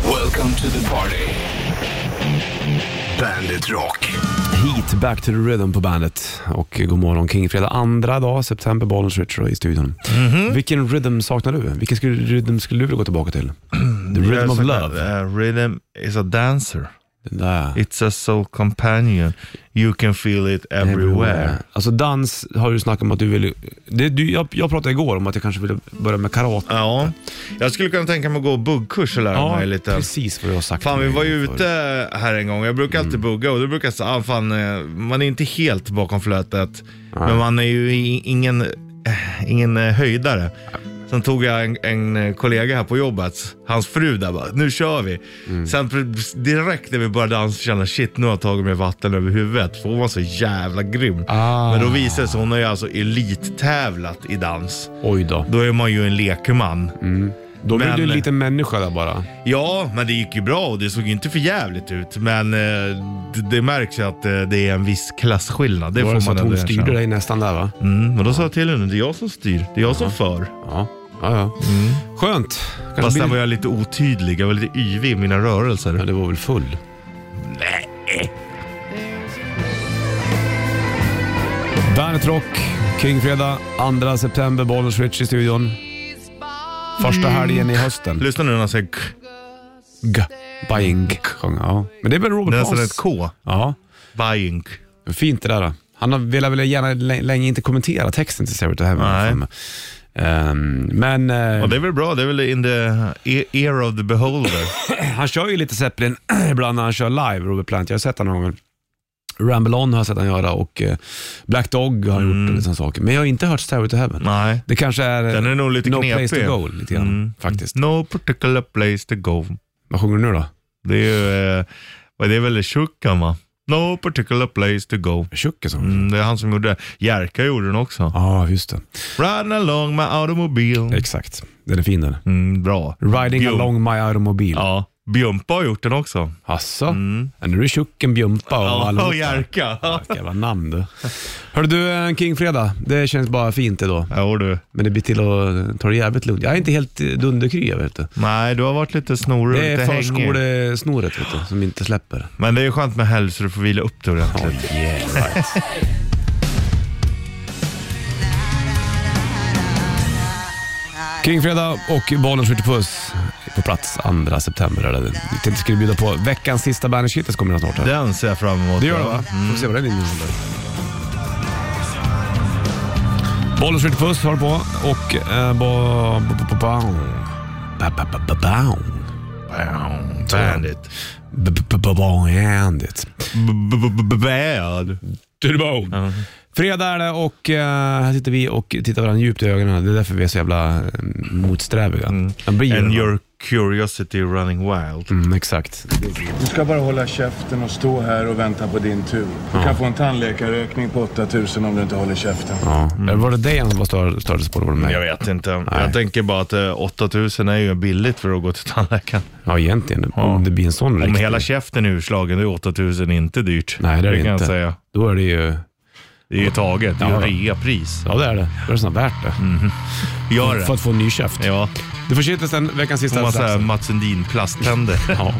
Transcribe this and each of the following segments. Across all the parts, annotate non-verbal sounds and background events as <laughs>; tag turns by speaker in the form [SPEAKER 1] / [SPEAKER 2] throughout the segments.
[SPEAKER 1] Welcome to the party. Bandit Rock.
[SPEAKER 2] Heat, Back to the Rhythm på bandet. Och god morgon King. Fredag andra dag, september, Bollens Richard i studion.
[SPEAKER 3] Mhm.
[SPEAKER 2] Vilken rhythm saknar du? Vilken skulle, rhythm skulle du vilja gå tillbaka
[SPEAKER 3] <clears throat>
[SPEAKER 2] till? The Rhythm of Love.
[SPEAKER 3] Uh, rhythm is a dancer.
[SPEAKER 2] Den där.
[SPEAKER 3] It's a soul companion. You can feel it everywhere.
[SPEAKER 2] Alltså dans har du snackat om att du vill... Det, du, jag, jag pratade igår om att jag kanske ville börja med karate.
[SPEAKER 3] Ja, jag skulle kunna tänka mig att gå buggkurs och lära mig lite.
[SPEAKER 2] precis vad du har sagt.
[SPEAKER 3] Fan,
[SPEAKER 2] till
[SPEAKER 3] vi
[SPEAKER 2] mig
[SPEAKER 3] var ju
[SPEAKER 2] förut.
[SPEAKER 3] ute här en gång. Jag brukar alltid bugga och då brukar jag säga, ah, fan, eh, man är inte helt bakom flötet. Men man är ju i- ingen, eh, ingen eh, höjdare. Sen tog jag en, en eh, kollega här på jobbet, hans fru där bara, nu kör vi. Sen pr- direkt när vi började dansa kände jag, shit nu har jag tagit mig vatten över huvudet. För hon var så jävla grym.
[SPEAKER 2] Ah.
[SPEAKER 3] Men då visade det sig, hon har ju alltså elittävlat i dans.
[SPEAKER 2] Oj då.
[SPEAKER 3] Då är man ju en lekman.
[SPEAKER 2] Då blev
[SPEAKER 3] Men-
[SPEAKER 2] du en liten människa där bara.
[SPEAKER 3] Ja, men det gick ju bra och det såg ju inte för jävligt ut. Men eh, det, det märks ju att eh, det är en viss klasskillnad. Det
[SPEAKER 2] Det var det
[SPEAKER 3] får man
[SPEAKER 2] så att
[SPEAKER 3] ändå
[SPEAKER 2] hon
[SPEAKER 3] erkänna.
[SPEAKER 2] styrde dig nästan där va?
[SPEAKER 3] Mm, men då sa jag till henne, det är jag som styr. Det är jag som för.
[SPEAKER 2] Ja. ja, ja. Skönt. Kanske
[SPEAKER 3] Mm. Fast
[SPEAKER 2] blir-
[SPEAKER 3] där var jag lite otydlig. Jag var lite yvig i mina
[SPEAKER 2] Ja,
[SPEAKER 3] rörelser.
[SPEAKER 2] det var väl full. Bandet Rock, Kingfredag, 2 september, Bollnäs Rich i studion. Första helgen i hösten.
[SPEAKER 3] Lyssna nu när han säger k.
[SPEAKER 2] G. Bajing. sjöng, Ja. Men det är väl
[SPEAKER 3] Det är alltså
[SPEAKER 2] Robert
[SPEAKER 3] nästan
[SPEAKER 2] Pons?
[SPEAKER 3] ett K.
[SPEAKER 2] Ja,
[SPEAKER 3] Bajink.
[SPEAKER 2] fint det där. då. Han har velat, velat gärna lä- länge inte kommentera texten till Sarah Heaven.
[SPEAKER 3] Nej.
[SPEAKER 2] Um, men eh,
[SPEAKER 3] Ja, det är väl bra. Det är väl in the e- ear of
[SPEAKER 2] <laughs>
[SPEAKER 3] the beholder.
[SPEAKER 2] han kör ju lite Zeppelin <clears throat> ibland när han kör live, Robert Plant. Jag har sett honom någon gång. Ramble On har jag sett han göra och eh, Black Dog har han gjort och liksom saker. Men jag har inte hört Stairway to Heaven.
[SPEAKER 3] Nej.
[SPEAKER 2] Det kanske är,
[SPEAKER 3] Mm.
[SPEAKER 2] eh,
[SPEAKER 3] Den är nog lite
[SPEAKER 2] No
[SPEAKER 3] knepig. Mm.
[SPEAKER 2] place to go lite grann faktiskt.
[SPEAKER 3] No particular place to go.
[SPEAKER 2] Vad sjunger du nu då?
[SPEAKER 3] Det är ju, eh, vad det är väl Shukan va? No particular place to go.
[SPEAKER 2] Tjock som.
[SPEAKER 3] Mm, det är han som gjorde det. Jerka gjorde den också.
[SPEAKER 2] Ja, just det.
[SPEAKER 3] Riding along my automobile.
[SPEAKER 2] Exakt. Den är fin den.
[SPEAKER 3] Mm, bra.
[SPEAKER 2] Riding
[SPEAKER 3] Bjum-
[SPEAKER 2] along my automobil.
[SPEAKER 3] Ja, Bjumpa har gjort den också.
[SPEAKER 2] Hasså? Ja, Nu är det Tjocken, Bjumpa och
[SPEAKER 3] Ja, och
[SPEAKER 2] allmosa.
[SPEAKER 3] Jerka.
[SPEAKER 2] Vilka jävla namn du. Hörru du, eh, en Kingfredag. Det känns bara fint idag.
[SPEAKER 3] Jo du.
[SPEAKER 2] Men det blir till att ta det jävligt lugnt. Jag är inte helt eh, dunderkry, jag vet du.
[SPEAKER 3] Nej, du har varit lite snorig och
[SPEAKER 2] Det är
[SPEAKER 3] lite hängig.
[SPEAKER 2] förskolesnoret vet du, som inte släpper.
[SPEAKER 3] Men det är skönt med helg så du får vila upp dig ordentligt.
[SPEAKER 2] yeah, right. Kingfredag och Bollnäs skjuter puss på plats 2 september. Eller? Jag tänkte jag skulle bjuda på veckans sista Bandage kommer snart. Här.
[SPEAKER 3] Den ser jag fram emot.
[SPEAKER 2] Det gör det va? Får se vad den innehåller. Bollnäs skjuter puss har på och... Eh, ba, ba, ba, ba, ba, ba, ba, ba, ba, ba,
[SPEAKER 3] Bam, Bandit.
[SPEAKER 2] ba, ba, ba, ba, handit.
[SPEAKER 3] B- b- b- Bad.
[SPEAKER 2] Turbo. Fredag är det och eh, här sitter vi och tittar varandra djupt i ögonen. Det är därför vi är så jävla eh, motsträviga. Man blir ju
[SPEAKER 3] Mm. And
[SPEAKER 2] det.
[SPEAKER 3] your curiosity running wild.
[SPEAKER 2] Mm, exakt.
[SPEAKER 4] Du ska bara hålla käften och stå här och vänta på din tur. Du kan få en tandläkarräkning på 8000 om du inte håller käften.
[SPEAKER 2] Ja. Eller Var det dig han var stör, stördes på? eller Var det
[SPEAKER 3] Mm. Jag
[SPEAKER 2] mig?
[SPEAKER 3] vet inte. Jag tänker bara att eh, 8000 är ju billigt för att gå till tandläkaren.
[SPEAKER 2] Ja, egentligen.
[SPEAKER 3] Ja.
[SPEAKER 2] Om det blir en sån
[SPEAKER 3] Om
[SPEAKER 2] riktig-
[SPEAKER 3] hela käften är urslagen, då är 8000 inte dyrt.
[SPEAKER 2] Nej, det är det
[SPEAKER 3] kan jag
[SPEAKER 2] inte.
[SPEAKER 3] säga.
[SPEAKER 2] Då är det ju...
[SPEAKER 3] Det är ju taget. Det är ju
[SPEAKER 2] Ja, då.
[SPEAKER 3] reapris.
[SPEAKER 2] Ja, det är det. Då är det snart värt det.
[SPEAKER 3] Gör
[SPEAKER 2] För
[SPEAKER 3] det.
[SPEAKER 2] att få en ny käft.
[SPEAKER 3] Mm. Ja, eh,
[SPEAKER 2] Du får kittlas den veckans
[SPEAKER 3] får
[SPEAKER 2] sista.
[SPEAKER 3] man säga
[SPEAKER 2] strax.
[SPEAKER 3] Mats Sundin <laughs> plasttänder.
[SPEAKER 2] Ja.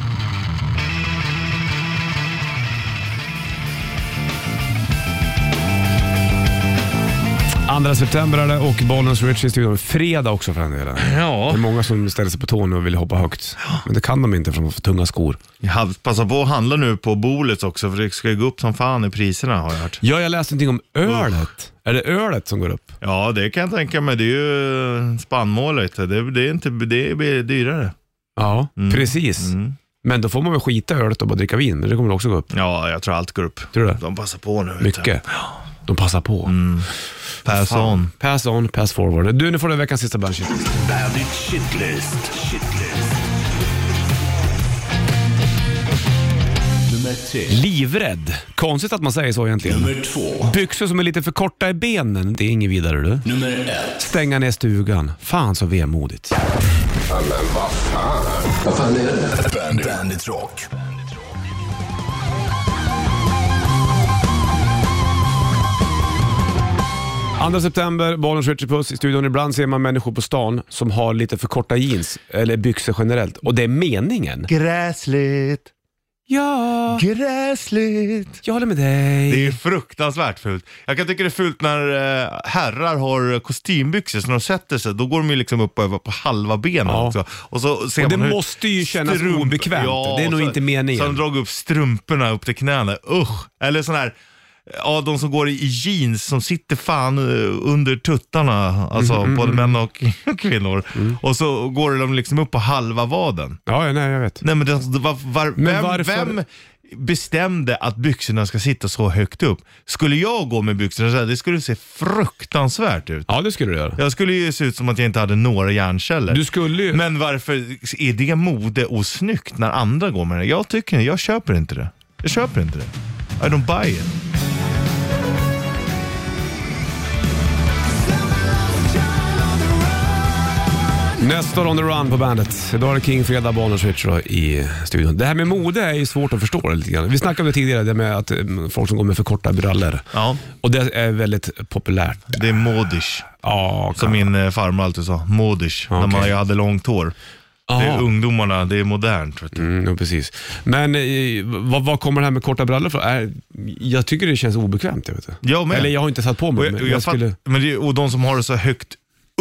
[SPEAKER 2] Andra september är det och Bollnäs Rich i studion. Fredag också för den delen. Det
[SPEAKER 3] Ja,
[SPEAKER 2] är många som ställer sig på tå nu och vill hoppa högt. Men det kan de inte för de har för tunga skor.
[SPEAKER 3] jag passa på att handla nu på Bolets också för det ska ju gå upp som fan i priserna har jag hört.
[SPEAKER 2] Ja, jag läste någonting om ölet. Är det ölet som går upp?
[SPEAKER 3] Ja, det kan jag tänka mig. Det är ju spannmålet. Det, det, är inte, det blir dyrare.
[SPEAKER 2] Ja, Mm. precis. Men då får man väl skita i ölet och bara dricka vin. Men det kommer väl också gå upp.
[SPEAKER 3] Ja, jag tror allt går upp.
[SPEAKER 2] Tror du det?
[SPEAKER 3] De passar på nu. vet du.
[SPEAKER 2] Mycket. De passar på.
[SPEAKER 3] Pass
[SPEAKER 2] Fan.
[SPEAKER 3] on.
[SPEAKER 2] Pass on, pass forward. Du, nu får du veckans sista bandshit.
[SPEAKER 1] Bandit Shitlist. Shitlist. Nummer tre.
[SPEAKER 2] Livrädd. Konstigt att man säger så egentligen.
[SPEAKER 1] Nummer två.
[SPEAKER 2] Byxor som är lite för korta i benen, det är inget vidare du.
[SPEAKER 1] Nummer ett.
[SPEAKER 2] Stänga ner stugan. Fan så vemodigt.
[SPEAKER 1] Bandit, Bandit Rock.
[SPEAKER 2] 2 september, Bollnäs Richard Puss i studion. Ibland ser man människor på stan som har lite för korta jeans, eller byxor generellt. Och det är meningen.
[SPEAKER 3] Gräsligt,
[SPEAKER 2] Ja,
[SPEAKER 3] gräsligt.
[SPEAKER 2] jag håller med dig.
[SPEAKER 3] Det är ju fruktansvärt fult. Jag kan tycka det är fult när eh, herrar har kostymbyxor, så när de sätter sig då går de ju liksom upp över på halva benen
[SPEAKER 2] Ja.
[SPEAKER 3] också. Och så ser
[SPEAKER 2] Och det
[SPEAKER 3] man hur
[SPEAKER 2] måste ju kännas obekvämt. Det är nog
[SPEAKER 3] så,
[SPEAKER 2] inte meningen.
[SPEAKER 3] Så de drog upp strumporna upp till knäna, usch. Eller sån här, ja de som går i jeans som sitter fan eh, under tuttarna, alltså
[SPEAKER 2] Mm-hmm,
[SPEAKER 3] både män och <laughs> kvinnor.
[SPEAKER 2] Mm.
[SPEAKER 3] Och så går de liksom upp på halva vaden.
[SPEAKER 2] Ja, ja, nej jag vet.
[SPEAKER 3] Nej men, det, det var, var, vem,
[SPEAKER 2] varför-
[SPEAKER 3] vem bestämde att byxorna ska sitta så högt upp? Skulle jag gå med byxorna så här, det skulle se fruktansvärt ut.
[SPEAKER 2] Ja, det skulle du göra.
[SPEAKER 3] Jag skulle ju se ut som att jag inte hade några hjärnceller.
[SPEAKER 2] Du skulle ju...
[SPEAKER 3] Men varför är det mode osnyggt när andra går med det? Jag tycker det, jag köper inte det. Jag köper inte det. I don't buy it.
[SPEAKER 2] Nästa år on the run på bandet. Idag är det King Fredag, Bonus Richard i studion. Det här med mode är ju svårt att förstå lite grann. Vi snackade om det tidigare, det med att eh, folk som går med för korta brallor.
[SPEAKER 3] Ja,
[SPEAKER 2] Och det är väldigt populärt.
[SPEAKER 3] det är modish.
[SPEAKER 2] Ja,
[SPEAKER 3] Som min eh, farmor alltid sa, modish. När man
[SPEAKER 2] Okej.
[SPEAKER 3] hade långt hår. Det är ungdomarna, det är modernt. Vet du.
[SPEAKER 2] Mm, jo, precis. Men eh, vad, vad kommer det här med korta brallor för? Är, jag tycker det känns obekvämt. Jag vet. inte.
[SPEAKER 3] Jag med.
[SPEAKER 2] Eller jag har inte satt på
[SPEAKER 3] Och,
[SPEAKER 2] mig
[SPEAKER 3] jag,
[SPEAKER 2] men
[SPEAKER 3] och,
[SPEAKER 2] jag
[SPEAKER 3] jag fatt,
[SPEAKER 2] skulle...
[SPEAKER 3] men det, och de som har det så högt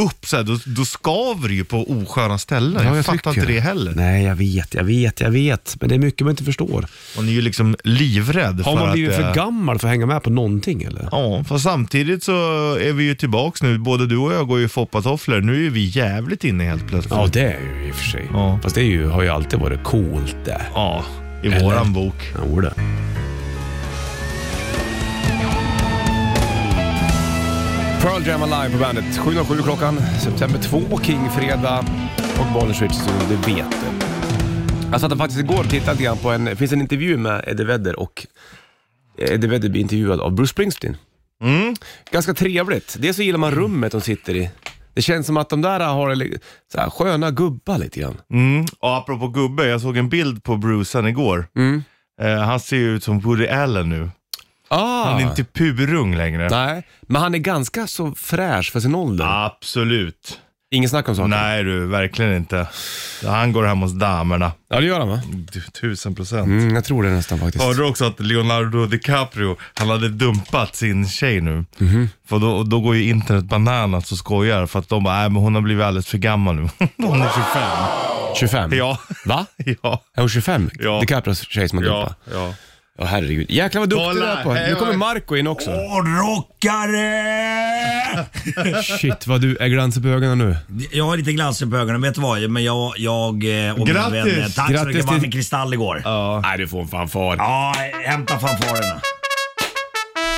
[SPEAKER 3] upp, så här, då, då skaver det ju på osköna ställen. jag, fattar
[SPEAKER 2] tycker
[SPEAKER 3] inte det heller.
[SPEAKER 2] Nej, jag vet, jag vet, jag vet. Men det är mycket man inte förstår.
[SPEAKER 3] Man är ju liksom livrädd
[SPEAKER 2] Har
[SPEAKER 3] för
[SPEAKER 2] man blivit
[SPEAKER 3] att... eh,
[SPEAKER 2] för gammal för att hänga med på någonting eller?
[SPEAKER 3] Ja, fast samtidigt så är vi ju tillbaks nu. Både du och jag går ju i foppatofflor. Nu är vi jävligt inne helt plötsligt.
[SPEAKER 2] Ja, det är ju i och för sig.
[SPEAKER 3] Ja.
[SPEAKER 2] Fast det är ju, har ju alltid varit coolt det.
[SPEAKER 3] Ja, i
[SPEAKER 2] Eller?
[SPEAKER 3] våran bok.
[SPEAKER 2] Jo det. Pearl Jam Alive på bandet. 7.07 klockan. September 2, Kingfredag. Och Bonnier Switch, så du vet det.
[SPEAKER 5] Jag satt faktiskt igår och tittade lite grann på en, det finns en intervju med Eddie Vedder och eh, Eddie Vedder blir intervjuad av Bruce Springsteen. Ganska trevligt. Dels så gillar man rummet de sitter i. Det känns som att de där har li- så här, sköna gubbar lite grann.
[SPEAKER 3] Mm. Och apropå gubbe, jag såg en bild på Brucen igår.
[SPEAKER 2] Mm.
[SPEAKER 3] Eh, han ser ju ut som Woody Allen nu.
[SPEAKER 5] Ah,
[SPEAKER 3] Han är inte purung längre.
[SPEAKER 5] Nej, men han är ganska så fräsch för sin ålder.
[SPEAKER 3] Absolut.
[SPEAKER 5] Ingen snack om saken.
[SPEAKER 3] Nej du, verkligen inte. Han går hem hos damerna.
[SPEAKER 5] Ja, det gör han va?
[SPEAKER 3] Du, Tusen procent.
[SPEAKER 5] Mm, jag tror det nästan faktiskt.
[SPEAKER 3] Hörde du också att Leonardo DiCaprio, han hade dumpat sin tjej nu.
[SPEAKER 6] Mhm.
[SPEAKER 3] För då, då går ju internet bananas och skojar för att de bara, nej men hon har blivit alldeles för gammal nu. <laughs> hon är 25.
[SPEAKER 5] 25?
[SPEAKER 3] Ja. <laughs>
[SPEAKER 5] Va?
[SPEAKER 3] Ja.
[SPEAKER 5] Är hon 25?
[SPEAKER 3] Ja.
[SPEAKER 5] DiCaprios tjej som har
[SPEAKER 3] Ja.
[SPEAKER 5] dumpat?
[SPEAKER 3] ja.
[SPEAKER 5] Ja, herregud. Jäklar vad duktig du
[SPEAKER 3] Kolla,
[SPEAKER 5] är på.
[SPEAKER 3] hej,
[SPEAKER 5] Nu kommer
[SPEAKER 3] hej.
[SPEAKER 5] Marco in också.
[SPEAKER 6] rockare!
[SPEAKER 2] Shit vad du är glansig på ögonen nu.
[SPEAKER 6] Jag har lite glansig på ögonen, vet du vad? Men jag, jag eh, och mina
[SPEAKER 3] Grattis!
[SPEAKER 6] vänner. Tack så
[SPEAKER 2] Grattis
[SPEAKER 6] mycket. Jag vann
[SPEAKER 2] till-
[SPEAKER 6] en kristall igår. Ja,
[SPEAKER 2] Nej, du får en fanfar.
[SPEAKER 6] hämta fanfarerna.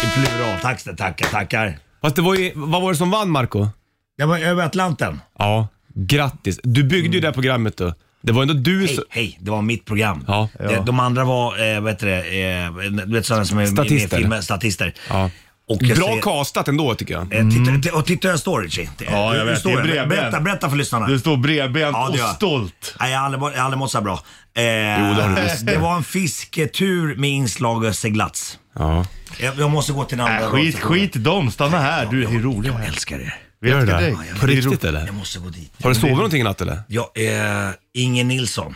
[SPEAKER 6] I plural. Tack, så- tackar, tackar.
[SPEAKER 2] Fast det var ju, vad var det som vann Marco?
[SPEAKER 6] Jag var över Atlanten.
[SPEAKER 2] Ja, grattis. Du byggde ju det här programmet då. Det var ändå du
[SPEAKER 6] Hej,
[SPEAKER 2] som...
[SPEAKER 6] hej, det var mitt program.
[SPEAKER 2] Ja.
[SPEAKER 6] De, de andra var, eh, vad heter det, eh, du vet sådana som är
[SPEAKER 2] Statister.
[SPEAKER 6] med i filmen, statister.
[SPEAKER 2] Ja.
[SPEAKER 6] Och jag
[SPEAKER 2] Bra Mm.
[SPEAKER 6] ser-
[SPEAKER 2] castat ändå tycker jag.
[SPEAKER 6] eh, titta, t- och titta hur jag står Richie.
[SPEAKER 3] Ja, jag
[SPEAKER 6] Hur
[SPEAKER 3] vet,
[SPEAKER 6] står
[SPEAKER 3] det är
[SPEAKER 6] jag?
[SPEAKER 3] bredbent.
[SPEAKER 6] berätta, berätta för lyssnarna.
[SPEAKER 3] Du står bredbent
[SPEAKER 6] Ja, det
[SPEAKER 3] och
[SPEAKER 6] gör jag.
[SPEAKER 3] stolt.
[SPEAKER 6] Nej, jag har aldrig, varit- jag har aldrig mått så här bra. Eh,
[SPEAKER 2] det har du visst.
[SPEAKER 6] det var en fisketur med inslag av seglats.
[SPEAKER 2] Ja.
[SPEAKER 6] Jag, jag måste gå till den andra.
[SPEAKER 3] Äh, skit,
[SPEAKER 6] radiostationen.
[SPEAKER 3] skit i dem, stanna här. Du är rolig.
[SPEAKER 6] Jag älskar er.
[SPEAKER 3] Vi
[SPEAKER 2] Gör du
[SPEAKER 3] älskar
[SPEAKER 2] det?
[SPEAKER 3] dig.
[SPEAKER 2] På
[SPEAKER 3] Det är
[SPEAKER 2] riktigt
[SPEAKER 3] roligt.
[SPEAKER 2] eller?
[SPEAKER 6] Jag måste gå dit.
[SPEAKER 2] Har du sovit någonting i natt eller?
[SPEAKER 6] Jag är Inge Nilsson.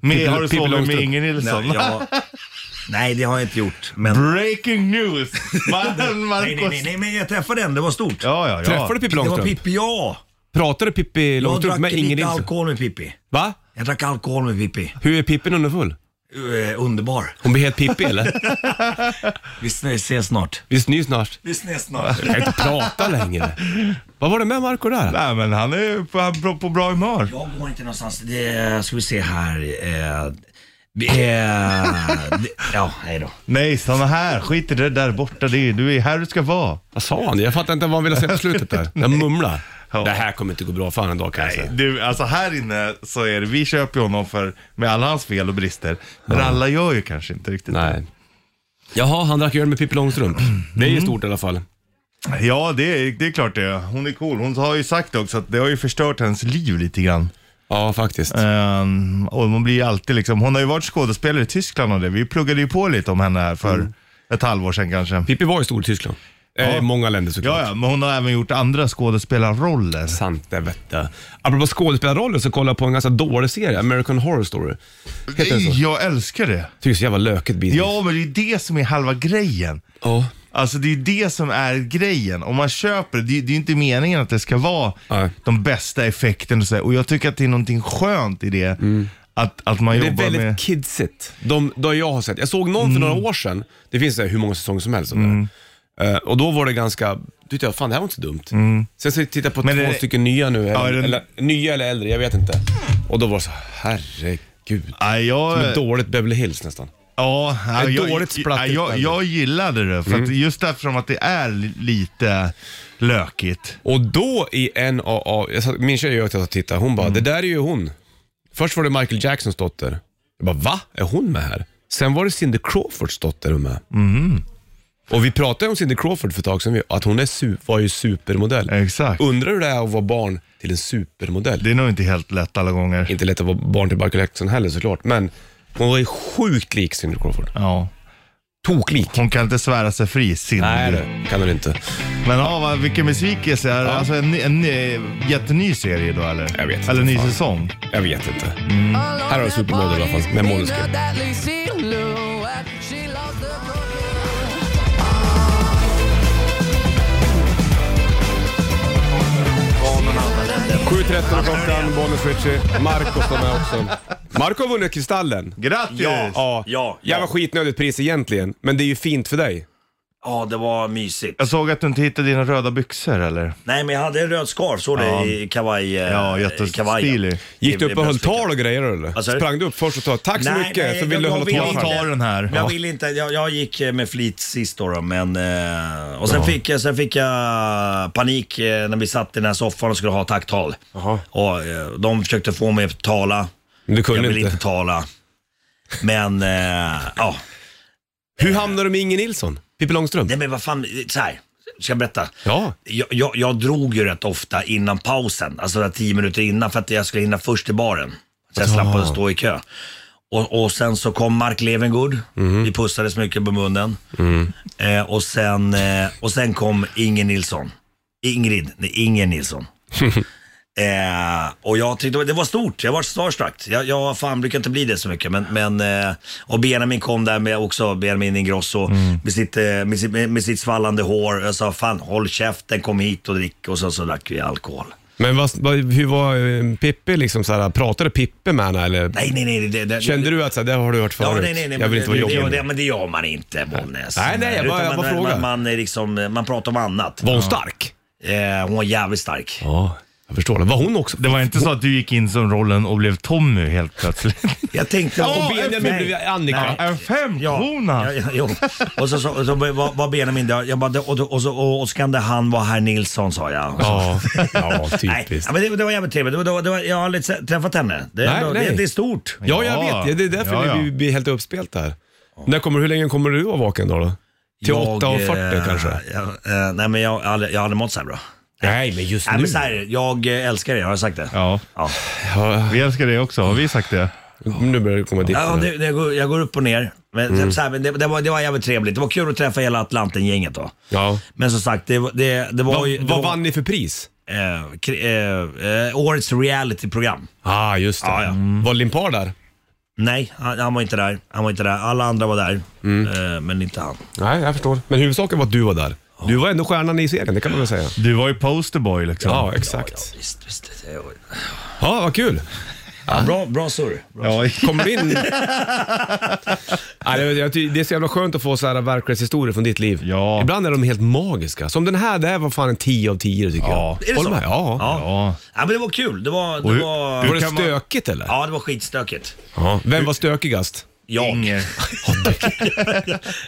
[SPEAKER 3] Men, har du
[SPEAKER 2] Pippi
[SPEAKER 3] sovit med
[SPEAKER 2] Långstrump.
[SPEAKER 3] Inger Nilsson?
[SPEAKER 6] Nej, jag, nej, det har jag inte gjort. Men,
[SPEAKER 3] <laughs> Breaking
[SPEAKER 6] <laughs>
[SPEAKER 3] news! Man,
[SPEAKER 6] nej, nej, nej,
[SPEAKER 3] Marcos...
[SPEAKER 6] nej, men jag träffade den. Det var stort.
[SPEAKER 3] Ja, ja, ja.
[SPEAKER 2] Träffade du Pippi
[SPEAKER 6] det var
[SPEAKER 2] Långstrump?
[SPEAKER 6] Pippi, ja.
[SPEAKER 2] Pratade Pippi
[SPEAKER 6] Jag
[SPEAKER 2] Långstrump
[SPEAKER 6] drack
[SPEAKER 2] med
[SPEAKER 6] lite
[SPEAKER 2] Inger Nilsson?
[SPEAKER 6] alkohol med Pippi.
[SPEAKER 2] Va?
[SPEAKER 6] Jag drack alkohol med Pippi.
[SPEAKER 2] Hur är Pippi underfull?
[SPEAKER 6] Eh, underbar.
[SPEAKER 2] Hon blir helt Pippi
[SPEAKER 6] <laughs>
[SPEAKER 2] eller?
[SPEAKER 6] Vi sn- ses snart.
[SPEAKER 2] Vi snys snart.
[SPEAKER 6] Vi ses snart.
[SPEAKER 2] Jag kan inte prata längre. Vad var det med Marco där?
[SPEAKER 3] Nej, men han är ju på, han är på- på bra humör.
[SPEAKER 6] Jag går inte någonstans. Det ska vi se här. Eh, vi-
[SPEAKER 2] <laughs>
[SPEAKER 6] eh, det, ja, hej då.
[SPEAKER 3] Nej, stanna här. Skit i det där borta. Det är, du är här du ska vara.
[SPEAKER 2] Vad sa han? Jag fattar inte vad han ville säga på slutet där. Jag mumlar.
[SPEAKER 3] Ja.
[SPEAKER 2] Det här kommer inte gå bra för han en dag kan jag säga.
[SPEAKER 3] Du, alltså här inne så är det, vi köper ju honom för, med alla hans fel och brister. Men alla gör ju kanske inte riktigt
[SPEAKER 2] Nej. Jaha, han drack öl med Pippi Långstrump. Det
[SPEAKER 3] Mm.
[SPEAKER 2] är ju stort i alla fall.
[SPEAKER 3] det. Ja, det, är- det är klart det är. Hon är cool. Hon har ju sagt också att det har ju förstört hennes liv lite grann.
[SPEAKER 2] Ja, faktiskt.
[SPEAKER 3] Ehm, och man blir ju alltid liksom, hon har ju varit skådespelare Mm. i Tyskland och det. Vi pluggade ju på lite om henne här för ett halvår sedan kanske.
[SPEAKER 2] Pippi var i Stortyskland. Eh,
[SPEAKER 3] Ja.
[SPEAKER 2] Många länder såklart.
[SPEAKER 3] Ja, ja, men hon har även gjort andra skådespelarroller.
[SPEAKER 2] Sant det vet jag. Apropå skådespelarroller så kollar jag på en ganska dålig serie, American Horror Story. Heter den så?
[SPEAKER 3] Nej, jag älskar det.
[SPEAKER 2] Tycker så jävla löket bitvis.
[SPEAKER 3] Ja, men det är ju det som är halva grejen.
[SPEAKER 2] Ja.
[SPEAKER 3] Alltså det är ju det som är grejen. Om man köper det, det är ju inte meningen att det ska vara
[SPEAKER 2] Nej.
[SPEAKER 3] de bästa effekterna och så här. Och jag tycker att det är någonting skönt i det. Att, att man
[SPEAKER 2] Mm. Det är
[SPEAKER 3] jobbar
[SPEAKER 2] väldigt
[SPEAKER 3] med... Mm.
[SPEAKER 2] kidsigt. De, de jag har sett. Jag såg någon för några år sedan. Det finns så här hur många säsonger som helst. av det. Eh, och då var det ganska, tyckte jag, fan det här var inte så dumt. Sen så tittade jag på
[SPEAKER 3] Mm. Men
[SPEAKER 2] två
[SPEAKER 3] är det-
[SPEAKER 2] stycken nya nu,
[SPEAKER 3] Ja, är
[SPEAKER 2] eller,
[SPEAKER 3] det-
[SPEAKER 2] eller, nya eller äldre, jag vet inte. Och då var det så, herregud.
[SPEAKER 3] Nej, jag...
[SPEAKER 2] Som ett dåligt Beverly Hills nästan.
[SPEAKER 3] Ja, ja, jag,
[SPEAKER 2] dåligt Mm. splattigt
[SPEAKER 3] ja, jag,
[SPEAKER 2] väldigt.
[SPEAKER 3] jag gillade det, för att just eftersom att det är li- lite lökigt.
[SPEAKER 2] Och då i en av, av jag satt, min tjej gör att jag tittar, hon bara, det där är ju hon. Först var det Michael Jacksons dotter. Jag bara, va? Är hon med här? Sen var det Cindy Crawfords dotter hon med. Och vi pratade om Cindy Crawford för ett tag sedan, vi- att hon är su- var ju supermodell.
[SPEAKER 3] Exakt.
[SPEAKER 2] Undrar hur det är att vara barn till en supermodell.
[SPEAKER 3] Det är nog inte helt lätt alla gånger.
[SPEAKER 2] Inte lätt att vara barn till Michael Jackson heller såklart, men hon var ju sjukt lik Cindy Crawford.
[SPEAKER 3] Ja.
[SPEAKER 2] Toklik.
[SPEAKER 3] Hon kan inte svära sig fri, Cindy.
[SPEAKER 2] Nej, det kan hon inte.
[SPEAKER 3] Men ja, vad- vilken besvikelse. Är det Alltså en, ny- en, ny- jätteny serie då eller?
[SPEAKER 2] Jag vet inte,
[SPEAKER 3] Eller ny
[SPEAKER 2] fan.
[SPEAKER 3] säsong.
[SPEAKER 2] Jag vet inte.
[SPEAKER 7] Här har du Supermodel i alla fall, med Måneskin.
[SPEAKER 2] klockan, Bonus Richie. Marco står med också. Marco har vunnit Kristallen.
[SPEAKER 3] Grattis!
[SPEAKER 2] Ja,
[SPEAKER 6] Ja, ja.
[SPEAKER 2] jävla skitnödigt pris egentligen, men det är ju fint för dig.
[SPEAKER 6] Ja, det var mysigt.
[SPEAKER 3] Jag såg att du inte hittade dina röda byxor eller?
[SPEAKER 6] Nej, men jag hade en röd scarf, såg du?
[SPEAKER 3] Ja.
[SPEAKER 6] I kavaj... eh,
[SPEAKER 3] Ja,
[SPEAKER 6] kavajen.
[SPEAKER 3] jättestilig.
[SPEAKER 2] Gick
[SPEAKER 6] I-
[SPEAKER 2] du
[SPEAKER 6] i
[SPEAKER 2] upp och höll
[SPEAKER 6] bröstfickan.
[SPEAKER 2] tal och grejer eller?
[SPEAKER 6] Vad sa du?
[SPEAKER 2] Sprang du upp först och sa tack så
[SPEAKER 6] Nej,
[SPEAKER 2] mycket,
[SPEAKER 6] nej,
[SPEAKER 2] så vill du hålla
[SPEAKER 6] vill
[SPEAKER 2] tal
[SPEAKER 3] Jag
[SPEAKER 6] inte.
[SPEAKER 2] för?
[SPEAKER 3] tar den här.
[SPEAKER 6] Jag
[SPEAKER 3] Ja.
[SPEAKER 6] vill inte, jag, jag gick eh, med flit sist då, då men... eh, Och sen, fick, jag- sen fick jag panik eh, när vi satt i den här soffan och skulle ha tacktal. Och eh, de försökte få mig att tala.
[SPEAKER 2] Men Du
[SPEAKER 6] Jag
[SPEAKER 2] kunde
[SPEAKER 6] vill
[SPEAKER 2] inte.
[SPEAKER 6] inte tala. Men, eh, ja.
[SPEAKER 2] Hur hamnade du med Inge Nilsson? Pippi Långstrump?
[SPEAKER 6] Nej men vad fan, så här. Ska jag berätta?
[SPEAKER 2] Ja.
[SPEAKER 6] Jag, jag, jag drog ju rätt ofta innan pausen, alltså där tio minuter innan för att jag skulle hinna först till baren. Så jag slapp att stå i kö. Och, och sen så kom Mark Levengood. Vi pussades mycket på munnen. Eh, och, sen, eh, och sen kom Inger Nilsson. Ingrid, nej Inger Nilsson. Eh, och jag tyckte det var stort, jag var starstruck. Jag, jag fan brukar inte bli det så mycket. Men, men, eh, och Benjamin kom där med också, Benjamin Ingrosso
[SPEAKER 2] Mm.
[SPEAKER 6] med, sitt, eh, med, sitt, med, med sitt svallande hår. Jag sa fan håll käften, kom hit och drick. Och så, så drack vi alkohol.
[SPEAKER 2] Men vad, vad, hur var eh, Pippi liksom så här, pratade Pippi med henne eller?
[SPEAKER 6] Nej, nej, nej. Det, det,
[SPEAKER 2] Kände du att så här, det har du hört
[SPEAKER 6] Ja,
[SPEAKER 2] förut?
[SPEAKER 6] nej, nej, nej,
[SPEAKER 2] jag vill
[SPEAKER 6] men
[SPEAKER 2] inte vara
[SPEAKER 6] det-
[SPEAKER 2] jobbig.
[SPEAKER 6] det, det, Men det gör man inte, Bollnäs.
[SPEAKER 2] Nej, nej, jag bara-
[SPEAKER 6] Utan
[SPEAKER 2] jag bara
[SPEAKER 6] man,
[SPEAKER 2] frågar.
[SPEAKER 6] man, man, är liksom, man pratar om annat.
[SPEAKER 2] Var hon stark?
[SPEAKER 6] Eh, hon var jävligt stark.
[SPEAKER 2] Ja, jag förstår det. Var hon också?
[SPEAKER 3] Det var inte så att du gick in som rollen och blev Tommy helt plötsligt.
[SPEAKER 6] Jag tänkte...
[SPEAKER 2] och
[SPEAKER 6] Nej.
[SPEAKER 2] Benjamin blev Annika.
[SPEAKER 3] <laughs> en femkrona!
[SPEAKER 6] Ja, ja, jo. Och så, så, och så var var Benjamin där. Jag bara, det- och, och, så, och, och så kan det han vara herr Nilsson sa jag. Och så-
[SPEAKER 2] Ja, ja
[SPEAKER 6] Nej,
[SPEAKER 2] typiskt.
[SPEAKER 6] ja, men det, det var jävligt trevligt. Det, var- det, var- det, var- jag har aldrig sett- träffat henne. Det, är
[SPEAKER 2] Nej,
[SPEAKER 6] ändå-
[SPEAKER 2] nej.
[SPEAKER 6] det, det är stort.
[SPEAKER 2] Ja, jag
[SPEAKER 3] Ja.
[SPEAKER 2] vet. Det är därför
[SPEAKER 3] Ja, ja.
[SPEAKER 2] vi blir helt uppspelt här. När kommer, hur länge kommer du vara vaken då? då? Till
[SPEAKER 6] Jag,
[SPEAKER 2] 8.40
[SPEAKER 6] eh,
[SPEAKER 2] kanske?
[SPEAKER 6] jag, eh, nej, men jag, har aldrig- jag har aldrig mått så här bra.
[SPEAKER 2] Nej, men just
[SPEAKER 6] Nej, men så här, jag eh, älskar er, har jag sagt det?
[SPEAKER 3] Ja,
[SPEAKER 6] Ja.
[SPEAKER 2] Ja,
[SPEAKER 3] vi älskar det också. Har vi sagt det?
[SPEAKER 2] nu börjar det komma dit.
[SPEAKER 6] Ja,
[SPEAKER 2] nu.
[SPEAKER 6] det, det, går- jag går upp och ner. Men,
[SPEAKER 2] Mm.
[SPEAKER 6] så här, men det, det, var, det var jävligt trevligt. Det var kul att träffa hela Atlanten-gänget då.
[SPEAKER 2] ja.
[SPEAKER 6] Men som sagt, det, var- det, det var
[SPEAKER 2] Vad,
[SPEAKER 6] ju... det
[SPEAKER 2] vad
[SPEAKER 6] var-
[SPEAKER 2] vann ni för pris?
[SPEAKER 6] eh, kri- eh, eh, årets realityprogram.
[SPEAKER 2] Ah, just det.
[SPEAKER 6] Ja, ja.
[SPEAKER 2] Mm. Var Limpar där?
[SPEAKER 6] Nej, han, han var inte där. Han var inte där. Alla andra var där,
[SPEAKER 3] Mm.
[SPEAKER 6] eh, men inte han.
[SPEAKER 2] Nej, jag förstår. Men huvudsaken var att du var där. Du var ändå stjärnan i serien, det kan man väl säga.
[SPEAKER 3] Du var ju posterboy liksom.
[SPEAKER 2] Ja, exakt.
[SPEAKER 6] Visst, visst. det-
[SPEAKER 2] Ja, vad kul.
[SPEAKER 6] Ja, bra bra surr. Bra.
[SPEAKER 3] Ja,
[SPEAKER 2] Kommer du in... Nej, det, jag ty- det är så jävla skönt att få så här verklighetshistorier från ditt liv.
[SPEAKER 3] Ja.
[SPEAKER 2] Ibland är de helt magiska. Som den här, det här var fan en 10 av 10 tycker
[SPEAKER 3] Ja.
[SPEAKER 2] jag.
[SPEAKER 6] Är det
[SPEAKER 2] Håller
[SPEAKER 6] så?
[SPEAKER 2] med? Ja.
[SPEAKER 6] Ja.
[SPEAKER 3] ja.
[SPEAKER 6] Ja, men det var kul. Det var...
[SPEAKER 3] Och
[SPEAKER 6] Det
[SPEAKER 3] hur-
[SPEAKER 6] var,
[SPEAKER 2] Var det
[SPEAKER 3] kan man-
[SPEAKER 2] stökigt eller?
[SPEAKER 6] ja, det var skitstökigt.
[SPEAKER 2] Vem var stökigast?
[SPEAKER 6] Jag.
[SPEAKER 3] Inger.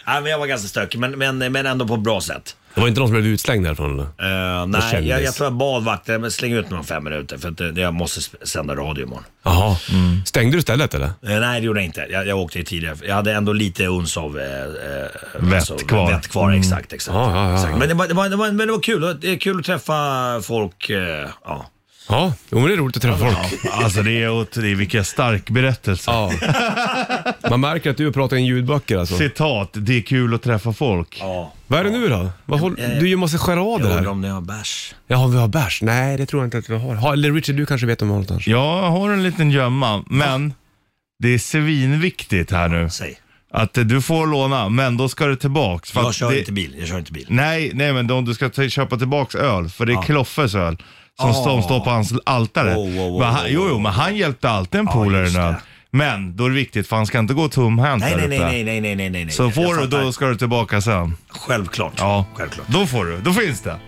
[SPEAKER 6] ja, men jag var ganska stökig, men, men, men ändå på ett bra sätt.
[SPEAKER 2] Det var inte någon som blev utslängd därifrån eller?
[SPEAKER 6] Eh, nej,
[SPEAKER 2] kändis.
[SPEAKER 6] jag, jag tror jag bad vakten men släng ut mig om fem minuter för att det, jag måste sp- sända radio imorgon.
[SPEAKER 2] Jaha.
[SPEAKER 3] Mm.
[SPEAKER 2] Stängde du stället eller?
[SPEAKER 6] Eh, nej, det gjorde jag inte. Jag, jag åkte ju tidigare. Jag hade ändå lite uns av eh, eh,
[SPEAKER 3] Vett kvar. Mm.
[SPEAKER 6] Vett kvar, exakt. exakt,
[SPEAKER 2] Ja, ja, ja,
[SPEAKER 6] exakt.
[SPEAKER 2] ja.
[SPEAKER 6] Men, det var, det var, det var, men det var kul. Det är kul att träffa folk. Eh, ja.
[SPEAKER 2] Ja, jo, men det är roligt att träffa folk.
[SPEAKER 3] Alltså det är, åt- det är vilka stark berättelse.
[SPEAKER 2] Ja. Man märker att du pratar in ljudböcker alltså.
[SPEAKER 3] Citat, det är kul att träffa folk.
[SPEAKER 6] Ja,
[SPEAKER 2] Vad är det nu då? Vad håll... Du gör massa charader
[SPEAKER 6] jag
[SPEAKER 2] här.
[SPEAKER 6] undrar om ni har bärs.
[SPEAKER 2] Jaha, vi har bärs? Nej, det tror jag inte att vi har. Ha, eller Richard, du kanske vet om vi har någonstans?
[SPEAKER 3] Jag har en liten gömma, men det är svinviktigt här nu.
[SPEAKER 6] Säg.
[SPEAKER 3] Att eh, du får låna, men då ska det tillbaks. För
[SPEAKER 6] Jag
[SPEAKER 3] att
[SPEAKER 6] kör
[SPEAKER 3] det,
[SPEAKER 6] inte bil. Jag kör inte bil.
[SPEAKER 3] Nej, nej men om du ska ta, köpa tillbaks öl, för det är Kloffes öl. Som som står på hans altare.
[SPEAKER 6] Ah. Wow, wow, wow,
[SPEAKER 3] men han,
[SPEAKER 6] wow,
[SPEAKER 3] jo, jo, men han hjälpte alltid en polare
[SPEAKER 6] just
[SPEAKER 3] en öl.
[SPEAKER 6] det.
[SPEAKER 3] Men då är det viktigt, för han ska inte gå tomhänt
[SPEAKER 6] Nej,
[SPEAKER 3] där uppe.
[SPEAKER 6] nej, nej, nej, nej, nej, nej, nej.
[SPEAKER 3] Så
[SPEAKER 6] Jag
[SPEAKER 3] får du,
[SPEAKER 6] fattar.
[SPEAKER 3] då ska du tillbaka sen.
[SPEAKER 6] Självklart.
[SPEAKER 3] Ja,
[SPEAKER 6] Självklart.
[SPEAKER 3] Då får du, då finns det.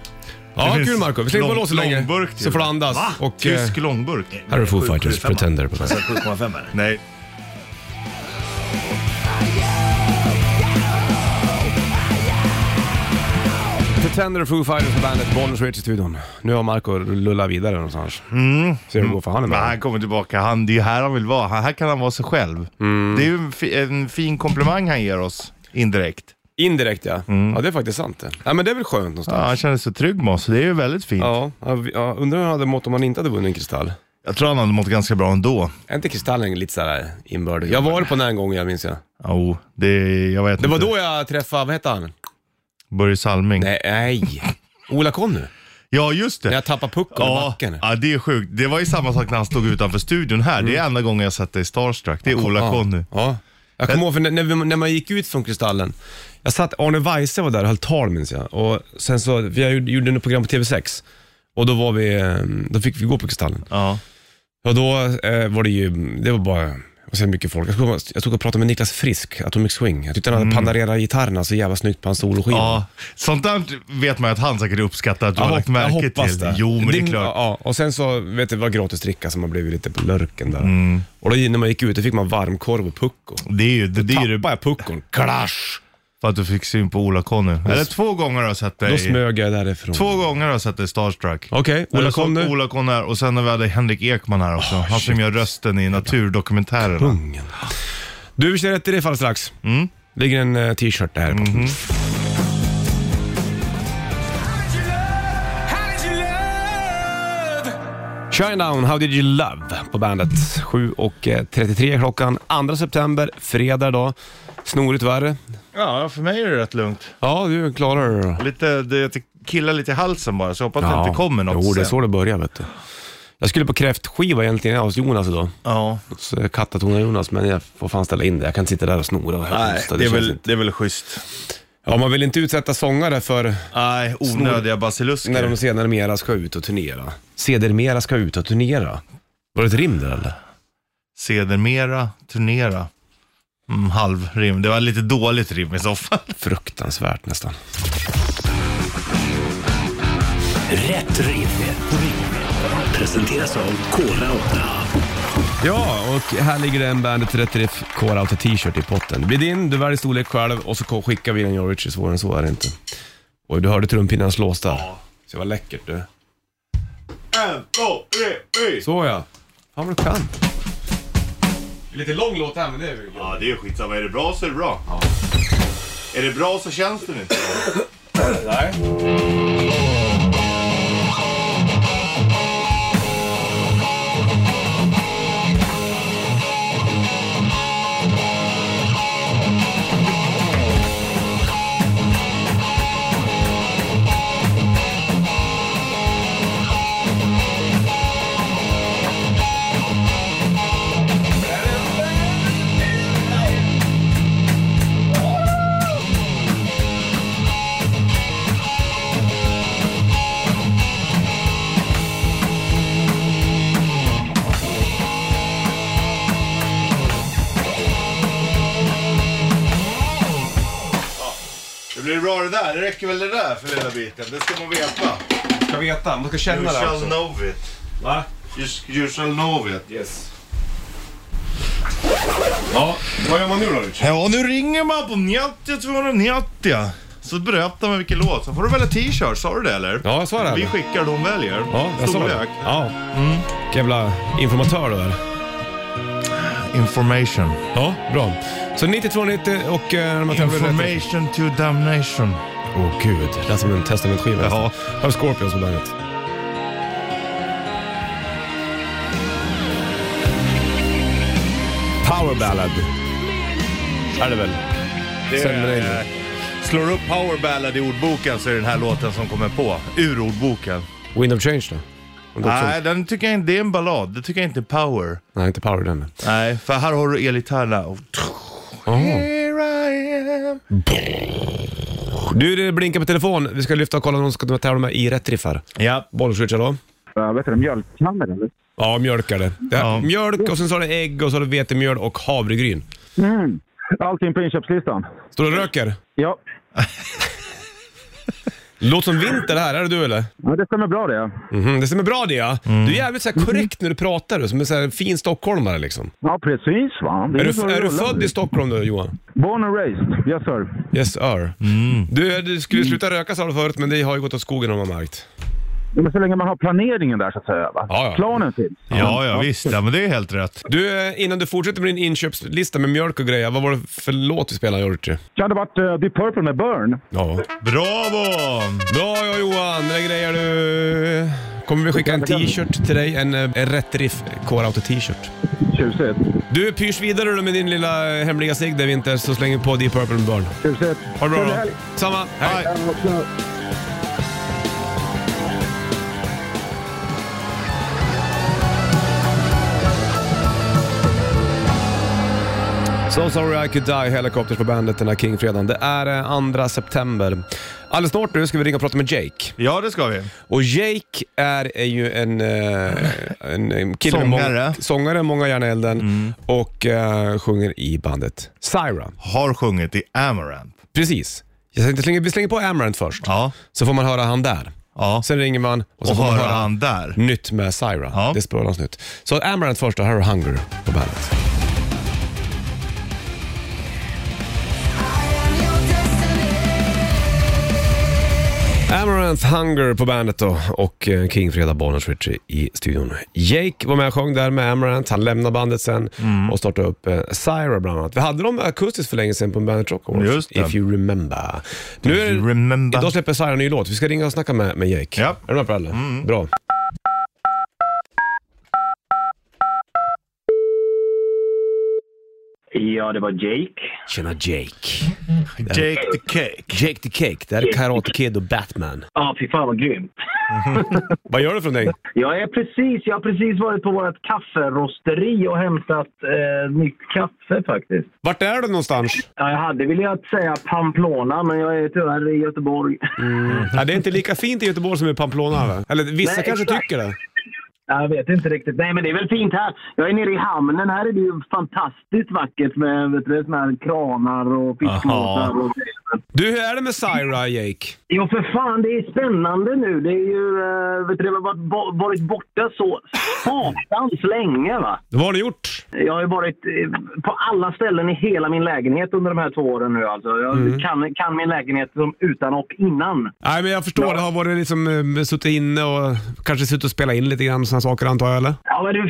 [SPEAKER 2] Ja,
[SPEAKER 3] finns
[SPEAKER 2] kul Marco. Vi slänger på
[SPEAKER 3] lång-
[SPEAKER 2] låset länge,
[SPEAKER 3] långburk till.
[SPEAKER 2] så får du andas.
[SPEAKER 6] Va?
[SPEAKER 2] Och,
[SPEAKER 3] Tysk
[SPEAKER 2] eh,
[SPEAKER 3] långburk.
[SPEAKER 2] här är Foo
[SPEAKER 6] Sju-
[SPEAKER 2] Fighters,
[SPEAKER 6] 7,5.
[SPEAKER 2] Pretender på
[SPEAKER 6] Alltså
[SPEAKER 2] bandet.
[SPEAKER 6] 7,5 är det.
[SPEAKER 3] Nej.
[SPEAKER 2] Pretender och Foo Fighters på bandet, Bollnäs Rich i studion. Nu har Marco lullat vidare någonstans. Ser du vad fan han är
[SPEAKER 3] Men
[SPEAKER 2] med.
[SPEAKER 3] han kommer tillbaka, han, det är ju här han vill vara. Han, här kan han vara sig själv.
[SPEAKER 2] Mm.
[SPEAKER 3] Det är ju en, fi, en fin komplimang han ger oss, indirekt.
[SPEAKER 2] Indirekt ja. Ja, det är faktiskt sant det. Ja, men det är väl skönt
[SPEAKER 3] Ja,
[SPEAKER 2] någonstans.
[SPEAKER 3] han känner sig trygg med oss, det är ju väldigt fint.
[SPEAKER 2] Ja, ja, vi- ja undrar hur han hade mått om han inte hade vunnit en kristall.
[SPEAKER 3] Jag tror han hade mått ganska bra ändå.
[SPEAKER 2] Är inte kristallen lite såhär inbördes? Jag var på den en gång, jag minns jag.
[SPEAKER 3] Jo, oh, det, jag vet
[SPEAKER 2] Det var
[SPEAKER 3] inte.
[SPEAKER 2] då jag träffade, vad hette han?
[SPEAKER 3] Börje Salming.
[SPEAKER 2] Nej, nej. Ola Conny.
[SPEAKER 3] Ja, just
[SPEAKER 2] När
[SPEAKER 3] det.
[SPEAKER 2] jag tappade pucken i
[SPEAKER 3] Ja,
[SPEAKER 2] backen.
[SPEAKER 3] ja, det är sjukt. Det var ju samma sak när han stod utanför studion här. Det är enda gången jag sett dig starstruck. Det är Ola Conny.
[SPEAKER 2] Mm. Ja. ja. Jag kommer ihåg, för när, när vi- när man gick ut från Kristallen, jag satt, Arne Weise var där och höll tal minns jag. Och sen så, vi gjorde- gjorde ett program på TV6 och då var vi, eh, då fick vi gå på Kristallen.
[SPEAKER 3] Ja.
[SPEAKER 2] Och då eh, var det ju, det var bara, och sen mycket folk. Jag stod, jag stod och pratade med Niklas Frisk, Atomic Swing. Jag tyckte han hade panarerat gitarrerna så jävla snyggt på hans soloskiva.
[SPEAKER 3] Mm. ja. Sånt där vet man ju att han säkert uppskattar att du
[SPEAKER 2] Jag
[SPEAKER 3] har
[SPEAKER 2] hop-
[SPEAKER 3] lagt märke
[SPEAKER 2] jag hoppas
[SPEAKER 3] till.
[SPEAKER 2] Det.
[SPEAKER 3] Jo, men det är klart.
[SPEAKER 2] Ja, och sen så, vet du, det var gratis dricka som man blev lite på lurken där.
[SPEAKER 3] Mm.
[SPEAKER 2] Och då när man gick ut, då fick man varmkorv och pucko.
[SPEAKER 3] Det är ju det, det, är ju det
[SPEAKER 2] Tappade jag puckon, klash!
[SPEAKER 3] för att du fick syn på Ola Conny. Eller två gånger har jag sett
[SPEAKER 2] Då
[SPEAKER 3] dig.
[SPEAKER 2] smög jag därifrån.
[SPEAKER 3] Två gånger har jag sett dig starstruck.
[SPEAKER 2] Okej,
[SPEAKER 3] När
[SPEAKER 2] Ola
[SPEAKER 3] jag såg
[SPEAKER 2] Conny. Ah,
[SPEAKER 3] Ola Conny här och sen när vi hade Henrik Ekman här också. han som gör rösten i naturdokumentärerna.
[SPEAKER 2] Ungen. Du, vi kör rätt i det fall strax.
[SPEAKER 3] Mm.
[SPEAKER 2] Ligger en eh, t-shirt där.
[SPEAKER 3] Mhm.
[SPEAKER 2] Shine down, how did you love? På bandet. 7.33 klockan. 2 september, fredag idag. Snorigt värre.
[SPEAKER 3] Ja, för mig är det rätt lugnt.
[SPEAKER 2] Ja, du klarar det då.
[SPEAKER 3] Lite, det, jag killar lite i halsen bara, så jag hoppas att det inte kommer något
[SPEAKER 2] Jo, det är
[SPEAKER 3] sen.
[SPEAKER 2] så det börjar vet du. Jag skulle på kräftskiva egentligen hos Jonas idag.
[SPEAKER 3] Ja,
[SPEAKER 2] Hos eh, Kattatona-Jonas, men jag får fan ställa in det. Jag kan inte sitta där och snora och
[SPEAKER 3] nej,
[SPEAKER 2] hosta.
[SPEAKER 3] det, är
[SPEAKER 2] känns
[SPEAKER 3] väl,
[SPEAKER 2] inte-
[SPEAKER 3] det är väl schysst.
[SPEAKER 2] Ja, man vill inte utsätta sångare för
[SPEAKER 3] Nej, onödiga basilusker.
[SPEAKER 2] när de sedermera ska ut och turnera. Sedermera ska ut och turnera. Var det ett rim där eller?
[SPEAKER 3] Sedermera, turnera. Mm, halvrim. Det var lite dåligt rim i så fall.
[SPEAKER 2] Fruktansvärt nästan.
[SPEAKER 1] Rätt riff. Presenteras av Kora 8.
[SPEAKER 2] Ja, och här ligger det en Bandet Rätt Riff Core Out T-shirt i potten. Det blir din, du väljer storlek själv och så skickar vi den Joe Richie. Svårare än så är det inte. Oj, du hörde trumpinnen slås där. Så vad läckert du.
[SPEAKER 3] En, två, tre, fyra.
[SPEAKER 2] Så ja. Fan vad du kan. Lite lång låt här men det är väl
[SPEAKER 3] Ja, det är skitsamma. Är det bra så är det bra. Är det bra så känns det inte.
[SPEAKER 2] Nej.
[SPEAKER 3] Det blir bra det där. Det räcker väl det där för lilla biten. Det ska man veta.
[SPEAKER 2] Man ska veta, man ska
[SPEAKER 3] You
[SPEAKER 2] känna
[SPEAKER 3] shall know it.
[SPEAKER 2] alltså. Va?
[SPEAKER 3] You, s- you shall know it.
[SPEAKER 2] Yes. Ja, vad gör man nu då Richie?
[SPEAKER 3] Ja, nu ringer man på 90 290. Så berättar man vilken låt, så får du välja t-shirt. Sa du det eller?
[SPEAKER 2] Ja, jag sa det.
[SPEAKER 3] Vi skickar, de väljer.
[SPEAKER 2] Ja, jag sa det.
[SPEAKER 3] Storlek.
[SPEAKER 2] Ja. Mm. Vilken jävla informatör du är.
[SPEAKER 3] Information.
[SPEAKER 2] Ja, bra. Så 9290 och eh, när man tävlar i rätt-
[SPEAKER 3] Information to damnation.
[SPEAKER 2] Åh gud, det lät som en testamentskiva.
[SPEAKER 3] Ja.
[SPEAKER 2] Här har Scorpions på bandet. power ballad. Är det väl?
[SPEAKER 3] Det
[SPEAKER 2] Stämmer det
[SPEAKER 3] är, eh, slår du upp power ballad i ordboken så är det den här låten som kommer på. Ur ordboken.
[SPEAKER 2] Wind of Change då? Om det också-
[SPEAKER 3] Nej, den tycker jag, inte- det är en ballad. Det tycker jag inte är power.
[SPEAKER 2] Nej, inte power den.
[SPEAKER 3] Nej, för här har du elgitarrerna. Och... Here I am.
[SPEAKER 2] Du, det blinkar på telefon. Vi ska lyfta och kolla någon som ska tävla med i rätt riffar.
[SPEAKER 3] Ja,
[SPEAKER 2] Bollswitch då?
[SPEAKER 8] eh, Vad heter det? Mjölkkanner eller?
[SPEAKER 2] Ja, mjölk är det. det
[SPEAKER 3] Ja.
[SPEAKER 2] Mjölk och sen så har det ägg och så har det vetemjöl och havregryn.
[SPEAKER 8] Mm. Allting på inköpslistan.
[SPEAKER 2] Står du och röker?
[SPEAKER 8] Ja.
[SPEAKER 2] Låter som vinter här, är det du eller?
[SPEAKER 8] ja, det stämmer bra det. ja.
[SPEAKER 2] Mhm, det stämmer bra det ja. Du är jävligt så här korrekt när du pratar, du, som en så här fin stockholmare liksom.
[SPEAKER 8] Ja, precis va. Det
[SPEAKER 2] Är
[SPEAKER 8] så det
[SPEAKER 2] du, är du
[SPEAKER 8] rullar.
[SPEAKER 2] född i Stockholm då Johan?
[SPEAKER 8] Born and raised. Yes sir.
[SPEAKER 2] Yes sir. Du, eh, du skulle sluta röka sa du förut, men det har ju gått åt skogen har man märkt.
[SPEAKER 8] Ja, men så länge man har planeringen där så att säga. Va?
[SPEAKER 2] Ja, ja.
[SPEAKER 8] Planen finns.
[SPEAKER 3] ja, ja visst. Ja, men det är helt rätt.
[SPEAKER 2] Du, eh, innan du fortsätter med din inköpslista med mjölk och grejer, vad var det för låt vi spelade George?
[SPEAKER 8] Det hade varit uh, Deep Purple med Burn.
[SPEAKER 2] Ja.
[SPEAKER 3] Bravo!
[SPEAKER 2] Bra ja Johan, det grejer du. Kommer vi skicka en t-shirt till dig, en, eh, en rätt riff Core Auto t-shirt.
[SPEAKER 8] Tjusigt.
[SPEAKER 2] Du pyrs vidare du med din lilla eh, hemliga cigg där vinter så slänger vi på Deep Purple med Burn.
[SPEAKER 8] Tjusigt.
[SPEAKER 2] Ha det bra
[SPEAKER 8] Trevlig
[SPEAKER 2] då.
[SPEAKER 8] helg.
[SPEAKER 2] Samma, hej.
[SPEAKER 8] Ja, också.
[SPEAKER 2] So sorry I could die, Helicopters på bandet den här Kingfredagen. Det är eh, 2 september. Alldeles snart nu ska vi ringa och prata med Jake.
[SPEAKER 3] Ja, det ska vi.
[SPEAKER 2] Och Jake är, är ju en, eh, en, en kille med många,
[SPEAKER 3] Sångare.
[SPEAKER 2] sångare, många järn i elden
[SPEAKER 3] Mm.
[SPEAKER 2] och eh, sjunger i bandet Syra.
[SPEAKER 3] Har sjungit i Amaranth.
[SPEAKER 2] Precis. Jag tänkte slänga, vi slänger på Amaranth först,
[SPEAKER 3] Ja,
[SPEAKER 2] så får man höra han där.
[SPEAKER 3] ja.
[SPEAKER 2] Sen ringer man och så
[SPEAKER 3] Och
[SPEAKER 2] får man
[SPEAKER 3] höra
[SPEAKER 2] höra
[SPEAKER 3] han där.
[SPEAKER 2] nytt med Syra.
[SPEAKER 3] Ja.
[SPEAKER 2] Det är spelans nytt. Så Amaranth först då, här har Hunger på bandet. Amaranth Hunger på bandet då och eh, King Freda Bonus Richie i studion. Jake var med och sjöng där med Amaranth. Han lämnade bandet sen
[SPEAKER 3] Mm.
[SPEAKER 2] och startade upp eh, Syra bland annat. Vi hade dem akustiskt för länge sedan på Bandet Rock Awards,
[SPEAKER 3] Just det.
[SPEAKER 2] If you remember. Nu är,
[SPEAKER 3] You remember.
[SPEAKER 2] Idag släpper Syra en ny låt. Vi ska ringa och snacka med, med Jake.
[SPEAKER 3] Ja. Mm.
[SPEAKER 2] Är du med på det? eller? Bra.
[SPEAKER 9] Ja, det var Jake.
[SPEAKER 2] Tjena Jake.
[SPEAKER 3] Jake the Cake.
[SPEAKER 2] Jake the Cake. Det här är Karate Kid och Batman.
[SPEAKER 9] Ja, fy fan vad grymt.
[SPEAKER 2] Vad gör du för någonting?
[SPEAKER 9] Jag, är precis, jag har precis varit på vårt kafferosteri och hämtat eh, nytt kaffe faktiskt.
[SPEAKER 2] Vart är du någonstans?
[SPEAKER 9] Ja, jag hade velat säga Pamplona, men jag är tyvärr i Göteborg.
[SPEAKER 2] Ja, det är inte lika fint i Göteborg som i Pamplona va? Eller vissa
[SPEAKER 9] Nej,
[SPEAKER 2] kanske
[SPEAKER 9] exakt.
[SPEAKER 2] tycker det.
[SPEAKER 9] Ja, <laughs> Jag vet inte riktigt. Nej, men det är väl fint här. Jag är nere i hamnen. Här är det ju fantastiskt vackert med vet du, såna här kranar och fiskmåsar. och grejer.
[SPEAKER 2] Du, hur är det med Syra Jake?
[SPEAKER 9] Jo, för fan, det är spännande nu. Det är ju, eh, vet du, det har varit, bo- varit borta så satans länge. Va?
[SPEAKER 2] Vad har ni gjort?
[SPEAKER 9] Jag har ju varit eh, på alla ställen i hela min lägenhet under de här två åren nu. Alltså. Jag kan, kan min lägenhet som utan och innan.
[SPEAKER 2] Nej, men jag förstår. Det har varit liksom eh, suttit inne och kanske suttit och spelat in lite grann sådana saker antar jag eller?
[SPEAKER 9] Ja, men det,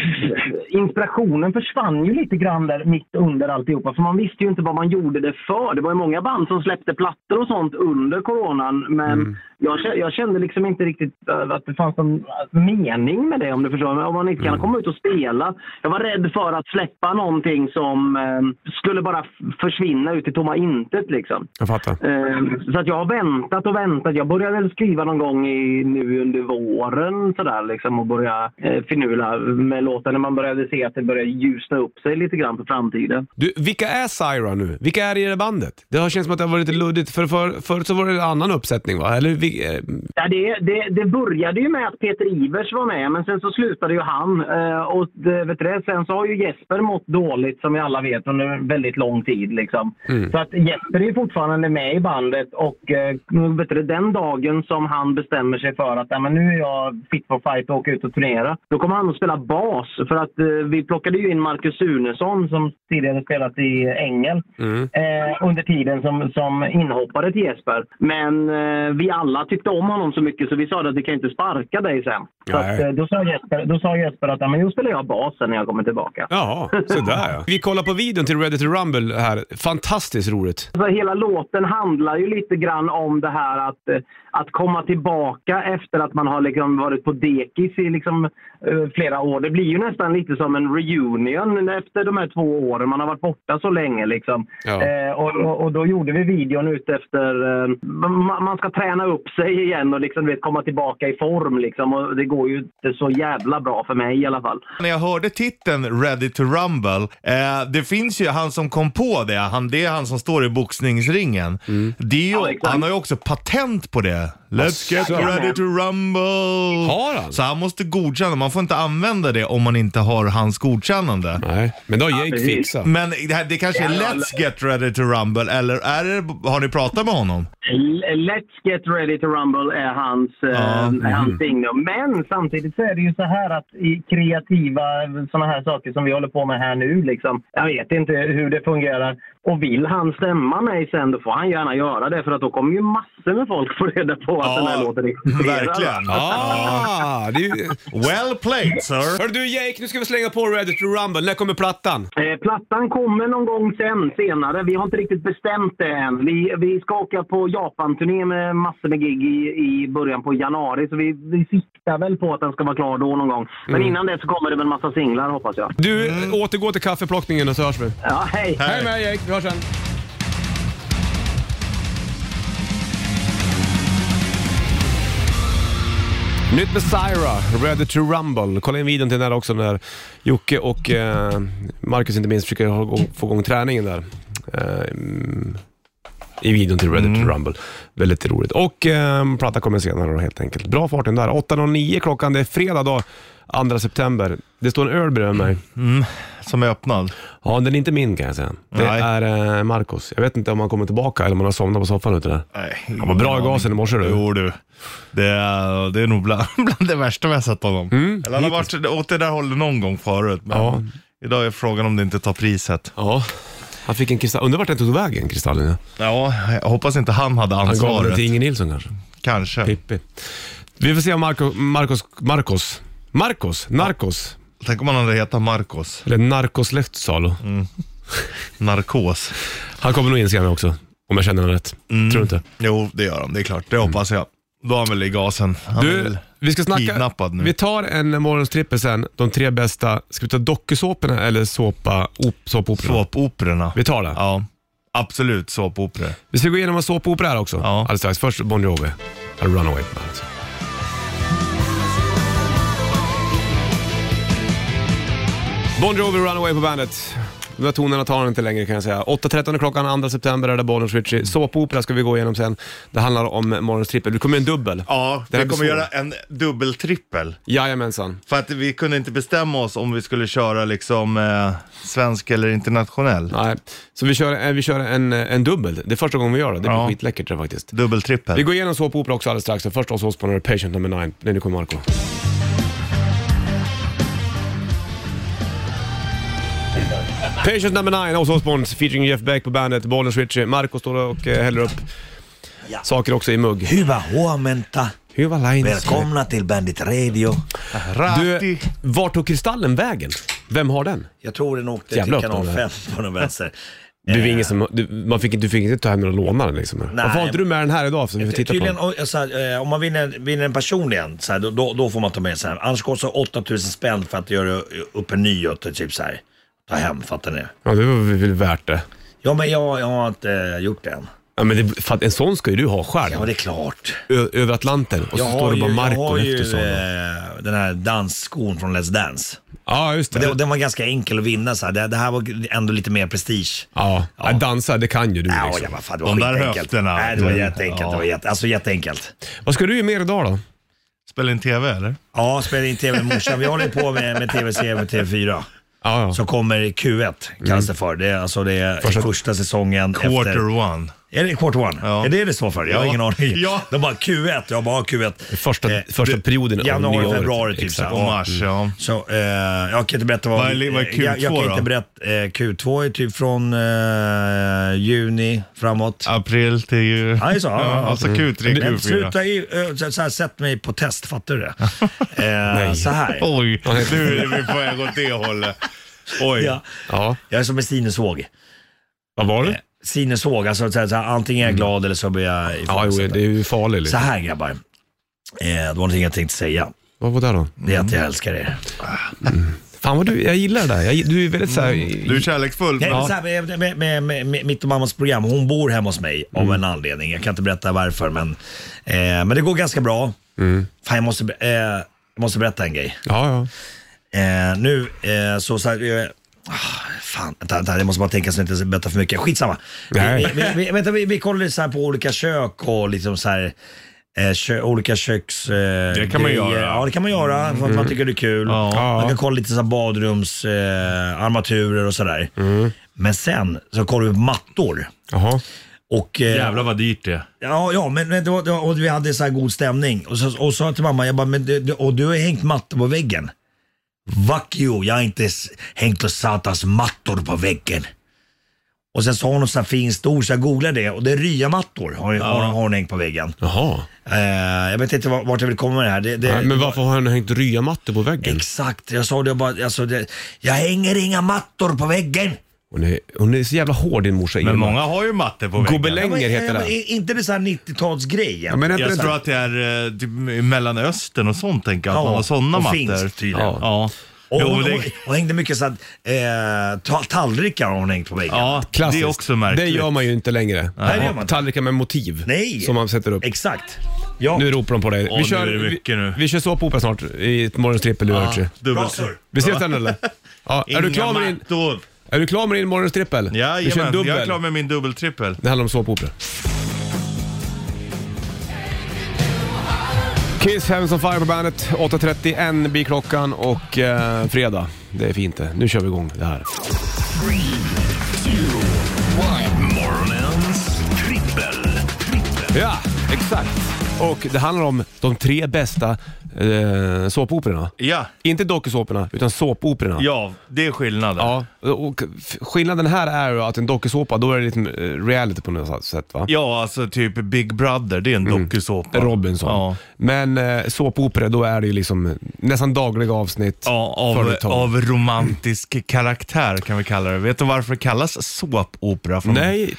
[SPEAKER 9] inspirationen försvann ju lite grann där mitt under alltihopa. För man visste ju inte vad man gjorde det för. Det var ju många band som släppte plattor och sånt under coronan. Men jag, kä- jag kände liksom inte riktigt eh, att det fanns någon eh, mening med det om du förstår. mig. Om man inte kan komma ut och spela. Jag var rädd för att släppa någonting som eh, skulle bara f- försvinna ut i tomma intet liksom.
[SPEAKER 2] Jag fattar.
[SPEAKER 9] Eh, Så att jag har väntat och väntat. Jag började väl skriva någon gång i, nu under våren sådär liksom och börja eh, finula med låtar när man började se att det började ljusna upp sig lite grann för framtiden.
[SPEAKER 2] Du, vilka är Syra nu? Vilka är i det bandet? Det har känts som att det har varit lite luddigt. För, för, förut så var det en annan uppsättning va? Eller, vi, eh,
[SPEAKER 9] Ja, det, det, det började ju med att Peter Ivers var med men sen så slutade ju han. Eh, Och det, vet du det, sen så har ju Jesper mått dåligt som vi alla vet under en väldigt lång tid. Liksom. Så att Jesper är ju fortfarande med i bandet och eh, vet du, det, den dagen som han bestämmer sig för att "Ja, men nu är jag fit for fight och åker ut och turnera. Då kommer han att spela bas för att eh, vi plockade ju in Marcus Sunesson som tidigare spelat i
[SPEAKER 2] Mm.
[SPEAKER 9] Ängel eh, under tiden som, som inhoppare till Jesper. Men eh, vi alla alla tyckte om honom så mycket så vi sa att vi kan inte sparka dig sen. Så
[SPEAKER 2] Nej.
[SPEAKER 9] att, eh, då, sa Jesper, då sa Jesper att "Ja, men nu spelar jag basen när jag kommer tillbaka.
[SPEAKER 2] Ja, sådär ja. Vi kollar på videon till Ready to Rumble här. Fantastiskt roligt.
[SPEAKER 9] Alltså, hela låten handlar ju lite grann om det här att, eh, att komma tillbaka efter att man har liksom varit på dekis i liksom, eh, flera år. Det blir ju nästan lite som en reunion efter de här två åren. Man har varit borta så länge. Liksom.
[SPEAKER 2] Ja.
[SPEAKER 9] Eh, och, och, och då gjorde vi videon ut efter... Eh, man, man ska träna upp sig igen och liksom, du vet, komma tillbaka i form. Liksom. Och det går ju inte så jävla bra för mig i alla fall.
[SPEAKER 3] När jag hörde titeln Ready to Rumble, eh, det finns ju han som kom på det, han, det är han som står i boxningsringen. Det är ju,
[SPEAKER 9] Mm. Ja, exakt.
[SPEAKER 3] han har ju också patent på det. Let's get
[SPEAKER 2] Asså.
[SPEAKER 3] ready to rumble.
[SPEAKER 2] Har han?
[SPEAKER 3] Så han måste godkänna, man får inte använda det om man inte har hans godkännande.
[SPEAKER 2] Nej, men då har Jake
[SPEAKER 3] <laughs>
[SPEAKER 9] precis.
[SPEAKER 2] fixat.
[SPEAKER 3] Men det, här, det kanske är Let's get ready to rumble, eller är det, har ni pratat med honom?
[SPEAKER 9] L- Let's get ready to rumble är hans, eh, är hans signum. Men samtidigt så är det ju så här att i kreativa sådana här saker som vi håller på med här nu, liksom, jag vet inte hur det fungerar. Och vill han stämma mig sen, då får han gärna göra det. För att då kommer ju massor med folk få reda på att den här låten existerar.
[SPEAKER 3] verkligen.
[SPEAKER 2] Ah, det är ju...
[SPEAKER 3] Well played sir.
[SPEAKER 2] Hör du Jake, nu ska vi slänga på Ready to Rumble. När kommer plattan?
[SPEAKER 9] Eh, plattan kommer någon gång sen, senare. Vi har inte riktigt bestämt det än. Vi, vi ska åka på Japan-turné med massor med gig i, i början på januari. Så vi, vi siktar väl på att den ska vara klar då någon gång. Men innan det så kommer det med en massa singlar hoppas jag.
[SPEAKER 2] Du, återgå till kaffeplockningen och så hörs vi.
[SPEAKER 9] Ja, hej!
[SPEAKER 2] Hej med dig Jake, vi hörs sen. Nytt med Syra, Ready to Rumble. Kolla in videon till den där också när Jocke och eh, Marcus inte minst försöker ha- få igång träningen där. Eh, mm, I videon till Ready to Rumble. Väldigt roligt. Och eh, platta kommer senare då helt enkelt. Bra farten där. 8.09 klockan, det är fredag då. 2 september. Det står en öl bredvid mig.
[SPEAKER 3] Som är öppnad.
[SPEAKER 2] Ja, den är inte min kan jag säga. Det
[SPEAKER 3] Nej.
[SPEAKER 2] är eh, Marcos. Jag vet inte om han kommer tillbaka eller om han har somnat på soffan ute där.
[SPEAKER 3] Nej,
[SPEAKER 2] Han var bra i gasen i morse du.
[SPEAKER 3] Jo du, det är, det är nog bland, <laughs> bland det värsta vi har sett honom. Eller han har varit åt det där hållet någon gång förut. Men
[SPEAKER 2] Mm. Ja.
[SPEAKER 3] Idag är frågan om det inte tar priset.
[SPEAKER 2] Ja. Han fick en kristall. Undrar vart den tog vägen, kristallen. Ja.
[SPEAKER 3] Ja, jag hoppas inte han hade
[SPEAKER 2] Han gav den
[SPEAKER 3] ansvaret.
[SPEAKER 2] till Inge Nilsson kanske.
[SPEAKER 3] Kanske.
[SPEAKER 2] Pippi. Vi får se om Marco, Marcos, Marcos, Marcos, Narcos,
[SPEAKER 3] Tänk om han hade hetat Marcos.
[SPEAKER 2] eller Narcos Lehtsalo.
[SPEAKER 3] Mm. Narkos.
[SPEAKER 2] Han kommer nog in senare också, om jag känner honom rätt.
[SPEAKER 3] Mm.
[SPEAKER 2] Tror du inte?
[SPEAKER 3] Jo, det gör han. Det är klart. Det hoppas jag. Då är han väl i gasen. Han är
[SPEAKER 2] Du,
[SPEAKER 3] väl
[SPEAKER 2] vi ska snacka.
[SPEAKER 3] kidnappad nu.
[SPEAKER 2] Vi tar en morgonstrippel sen, de tre bästa. Ska vi ta dokusåporna eller såpa, op, såpoperorna?
[SPEAKER 3] Såpoperorna.
[SPEAKER 2] Vi tar det.
[SPEAKER 3] Ja, absolut såpoperor.
[SPEAKER 2] Vi ska gå igenom en såpopera här också.
[SPEAKER 3] Ja.
[SPEAKER 2] Alldeles strax. Först Bon Jovi. A Runaway på bandet. Bon Jovi, Runaway på bandet. De där tonerna tar han inte längre kan jag säga. 8.13 är klockan, 2 september är det Bollnäs Ritchie. Såpopera ska vi gå igenom sen. Det handlar om morgonens trippel. Du kommer en dubbel.
[SPEAKER 3] Ja,
[SPEAKER 2] Det här
[SPEAKER 3] vi
[SPEAKER 2] blir
[SPEAKER 3] kommer
[SPEAKER 2] svårt.
[SPEAKER 3] göra en dubbeltrippel.
[SPEAKER 2] Jajamensan.
[SPEAKER 3] För att vi kunde inte bestämma oss om vi skulle köra liksom eh, svensk eller internationell.
[SPEAKER 2] Nej. Så vi kör, eh, vi kör en, en dubbel. Det är första gången vi gör det. Det blir
[SPEAKER 3] Ja.
[SPEAKER 2] skitläckert det faktiskt.
[SPEAKER 3] Dubbeltrippel.
[SPEAKER 2] Vi går igenom såpopera också alldeles strax. Först oss på Patient number 9. Nej, nu kommer Marco. Patient number 9 hos Osborn featuring Jeff Beck på bandet, Bollnäs Ritchie. Marco står och eh, häller upp saker också i mugg.
[SPEAKER 6] Hyvää huomenta.
[SPEAKER 2] Huva Lines.
[SPEAKER 6] Välkomna till Bandit Radio.
[SPEAKER 2] Du,
[SPEAKER 3] Ratti.
[SPEAKER 2] vart tog kristallen vägen? Vem har den?
[SPEAKER 6] Jag tror den åkte
[SPEAKER 2] Jävla
[SPEAKER 6] till
[SPEAKER 2] öppna
[SPEAKER 6] kanal 5 på den vänster.
[SPEAKER 2] Du,
[SPEAKER 6] Eh.
[SPEAKER 2] ingen som, du, man fick, du fick inte ta hem den och låna den liksom. Varför har inte du med den här idag? Så vi får titta på
[SPEAKER 6] Tydligen,
[SPEAKER 2] den.
[SPEAKER 6] om, så här, eh, om man vinner, vinner en person igen, så här, då, då, då får man ta med så här. Annars kostar 8000 spänn för att göra upp en ny åt typ så här. Ta hem, fattar ni?
[SPEAKER 2] Ja, det var väl värt det.
[SPEAKER 6] Ja, men jag, jag har inte eh, gjort det än.
[SPEAKER 2] Ja, men det, för att en sån ska ju du ha själv.
[SPEAKER 6] Ja, det är klart.
[SPEAKER 2] Ö- över Atlanten och så
[SPEAKER 6] Jag
[SPEAKER 2] står
[SPEAKER 6] har
[SPEAKER 2] det
[SPEAKER 6] ju,
[SPEAKER 2] bara
[SPEAKER 6] jag
[SPEAKER 2] Marco
[SPEAKER 6] har ju
[SPEAKER 2] Lehtoson. Ja,
[SPEAKER 6] eh, den här dansskon från Let's Dance.
[SPEAKER 2] just det.
[SPEAKER 6] Den, den var ganska enkel att vinna. Så här. Det, det här var ändå lite mer prestige.
[SPEAKER 2] ja. Ja. dansa, det kan ju du
[SPEAKER 6] Ja,
[SPEAKER 2] liksom.
[SPEAKER 6] ja, vad fan, det var
[SPEAKER 3] De där
[SPEAKER 6] skitenkelt.
[SPEAKER 3] höfterna.
[SPEAKER 6] Nej, det var
[SPEAKER 3] Mm.
[SPEAKER 6] jätteenkelt. Det var jätte, alltså jätteenkelt.
[SPEAKER 2] Vad ska du ge mer idag då?
[SPEAKER 3] Spelar in TV eller?
[SPEAKER 6] Ja, spela in tv med morsan. Vi håller på med, med tv-serien med TV4.
[SPEAKER 2] Ja, ja.
[SPEAKER 6] Som kommer i Q1, kallas det för. Det är, alltså, det är Mm. första, säsongen
[SPEAKER 3] Quarter
[SPEAKER 6] efter,
[SPEAKER 3] one.
[SPEAKER 6] Är det Quarter One?
[SPEAKER 3] Ja.
[SPEAKER 6] Är det det står för? Jag har
[SPEAKER 3] Ja.
[SPEAKER 6] ingen aning.
[SPEAKER 3] Ja.
[SPEAKER 6] De bara Q1, jag bara Q1.
[SPEAKER 2] Första- första
[SPEAKER 6] Eh, det-
[SPEAKER 2] perioden av nya
[SPEAKER 6] Januari,
[SPEAKER 2] året.
[SPEAKER 6] februari typ.
[SPEAKER 2] Exakt.
[SPEAKER 6] Så,
[SPEAKER 3] Och
[SPEAKER 6] här.
[SPEAKER 3] mars, ja.
[SPEAKER 6] Så, eh, jag kan inte berätta vad... eh,
[SPEAKER 3] Vad är- vad är Q2
[SPEAKER 6] jag, jag kan
[SPEAKER 3] då?
[SPEAKER 6] inte berätta. Eh, Q2 är typ från eh, juni framåt.
[SPEAKER 3] April till ju...
[SPEAKER 6] Ja, det är så, ja, ja.
[SPEAKER 3] alltså Q3,
[SPEAKER 6] Men
[SPEAKER 3] Q4.
[SPEAKER 6] sluta i, ö, så så här, sätt mig på test, fattar
[SPEAKER 3] <laughs>
[SPEAKER 6] du det? eh, så här.
[SPEAKER 3] Oj, nu är vi på väg åt det hållet. Oj.
[SPEAKER 6] Ja.
[SPEAKER 2] Ja.
[SPEAKER 6] Jag är som en sinusvåg.
[SPEAKER 2] Vad var
[SPEAKER 6] Eh,
[SPEAKER 2] det?
[SPEAKER 6] Sinusvåg, alltså så här, så här, antingen är jag glad eller så blir jag
[SPEAKER 2] Mm. Ja, jo,
[SPEAKER 6] ifrågasatt.
[SPEAKER 2] det är ju farligt.
[SPEAKER 6] Så
[SPEAKER 2] Liksom.
[SPEAKER 6] här grabbar. Eh, det var någonting jag tänkte säga.
[SPEAKER 2] Vad var det då?
[SPEAKER 6] Det är att jag älskar er.
[SPEAKER 2] Fan vad du, jag gillar det där. Jag, du är väldigt såhär...
[SPEAKER 6] Mm.
[SPEAKER 3] Du är kärleksfull.
[SPEAKER 6] Nej, men
[SPEAKER 3] Ja.
[SPEAKER 6] så här, med, med, med, med, med mitt och mammas program, hon bor hemma hos mig av en anledning. Jag kan inte berätta varför, men, eh, men det går ganska bra. Fan, jag måste, be- eh, jag måste berätta en grej.
[SPEAKER 2] Ja, ja.
[SPEAKER 6] Eh, nu eh, så... så här, eh, ah, Fan, vänta, vänta, jag måste bara tänka så att jag inte berättar för mycket. Skitsamma. Vi, vi,
[SPEAKER 2] Nej.
[SPEAKER 6] vi, vi, vänta, vi, vi kollade så här på olika kök och liksom så här, eh, kö, olika köks... Eh, det
[SPEAKER 3] kan man göra. Mm.
[SPEAKER 6] Ja, det kan man göra för att man tycker det är kul.
[SPEAKER 3] Ja.
[SPEAKER 6] Man kan kolla lite så här badrumsarmaturer eh, armaturer och sådär.
[SPEAKER 3] Mm.
[SPEAKER 6] Men sen så kollar vi på mattor.
[SPEAKER 2] Jaha.
[SPEAKER 6] Och, eh,
[SPEAKER 3] Jävlar vad dyrt det är.
[SPEAKER 6] Ja, ja men men det var, det var, och vi hade så här god stämning. Och, så, och sa till mamma, jag bara, men du, du, och du har hängt mattor på väggen. Fuck you, jag har inte s- hängt och satans mattor på väggen. Och sen sa hon något så här fint ord, så jag googlade det och det är ryamattor har, har, har hon hängt på väggen.
[SPEAKER 2] Jaha.
[SPEAKER 6] Eh, jag vet inte vart vart jag vill komma med det här. Det, det,
[SPEAKER 2] Nej, men varför har han hängt ryamattor på väggen?
[SPEAKER 6] Exakt, jag sa det jag bara, alltså det, jag hänger inga mattor på väggen.
[SPEAKER 2] Hon är, hon är så jävla hård din morsa
[SPEAKER 3] Men
[SPEAKER 2] Irma.
[SPEAKER 3] många har ju matte på väggen.
[SPEAKER 2] Gobeläng. Hänger
[SPEAKER 6] Ja, men-
[SPEAKER 2] heter
[SPEAKER 6] ja, men
[SPEAKER 2] det.
[SPEAKER 6] är Inte det så här 90-talsgrejen?
[SPEAKER 2] Ja, men
[SPEAKER 3] Jag
[SPEAKER 2] inte,
[SPEAKER 3] tror att det är eh, typ i Mellanöstern och sånt tänker jag. Att
[SPEAKER 6] Ja,
[SPEAKER 3] man har sådana
[SPEAKER 6] och
[SPEAKER 3] mattor.
[SPEAKER 6] finskt tydligen.
[SPEAKER 3] Ja. ja.
[SPEAKER 6] Och,
[SPEAKER 3] Jo,
[SPEAKER 6] och,
[SPEAKER 3] det,
[SPEAKER 6] och, och hängde mycket så att, eh, ta, tallrikar har hon hängt på väggen.
[SPEAKER 3] ja, det
[SPEAKER 2] klassiskt.
[SPEAKER 3] är också märkligt.
[SPEAKER 2] Det gör man ju inte längre.
[SPEAKER 6] Nej, det gör man inte.
[SPEAKER 2] Tallrikar med motiv.
[SPEAKER 6] Nej.
[SPEAKER 2] Som man sätter upp.
[SPEAKER 6] Exakt. Ja.
[SPEAKER 2] Nu ropar de på dig.
[SPEAKER 3] Åh, nu är det mycket nu.
[SPEAKER 2] vi, vi kör såpopera snart i ett morgonstrippel du Richie.
[SPEAKER 3] Dubbelsurr.
[SPEAKER 2] Vi ses sen eller? Ja, är, du klar med din,
[SPEAKER 3] mattor.
[SPEAKER 2] är du klar med din morgonstrippel? vi kör en
[SPEAKER 3] Jajamän,
[SPEAKER 2] dubbel.
[SPEAKER 3] jag är klar med min dubbeltrippel.
[SPEAKER 2] Det handlar om såpopera. Kiss, Heavens on Fire på bandet. 8.31 blir klockan och eh, fredag. Det är fint det. Nu kör vi igång det här.
[SPEAKER 1] Morgonens trippel.
[SPEAKER 2] Ja, exakt. Och det handlar om de tre bästa eh, såpoperorna.
[SPEAKER 3] Ja,
[SPEAKER 2] Inte dokusåporna, utan såpoperorna.
[SPEAKER 3] ja, det är skillnaden.
[SPEAKER 2] Ja, och f- skillnaden här är ju att en dokusåpa, då är det lite eh, reality på något sätt va?
[SPEAKER 3] Ja, alltså typ Big Brother, det är en dokusåpa.
[SPEAKER 2] Mm. Robinson.
[SPEAKER 3] Ja.
[SPEAKER 2] Men eh, såpopera, då är det ju liksom nästan dagliga avsnitt.
[SPEAKER 3] Ja, av,
[SPEAKER 2] företag.
[SPEAKER 3] av romantisk karaktär kan vi kalla det. Vet du varför det kallas såpopera? Från?
[SPEAKER 2] Nej,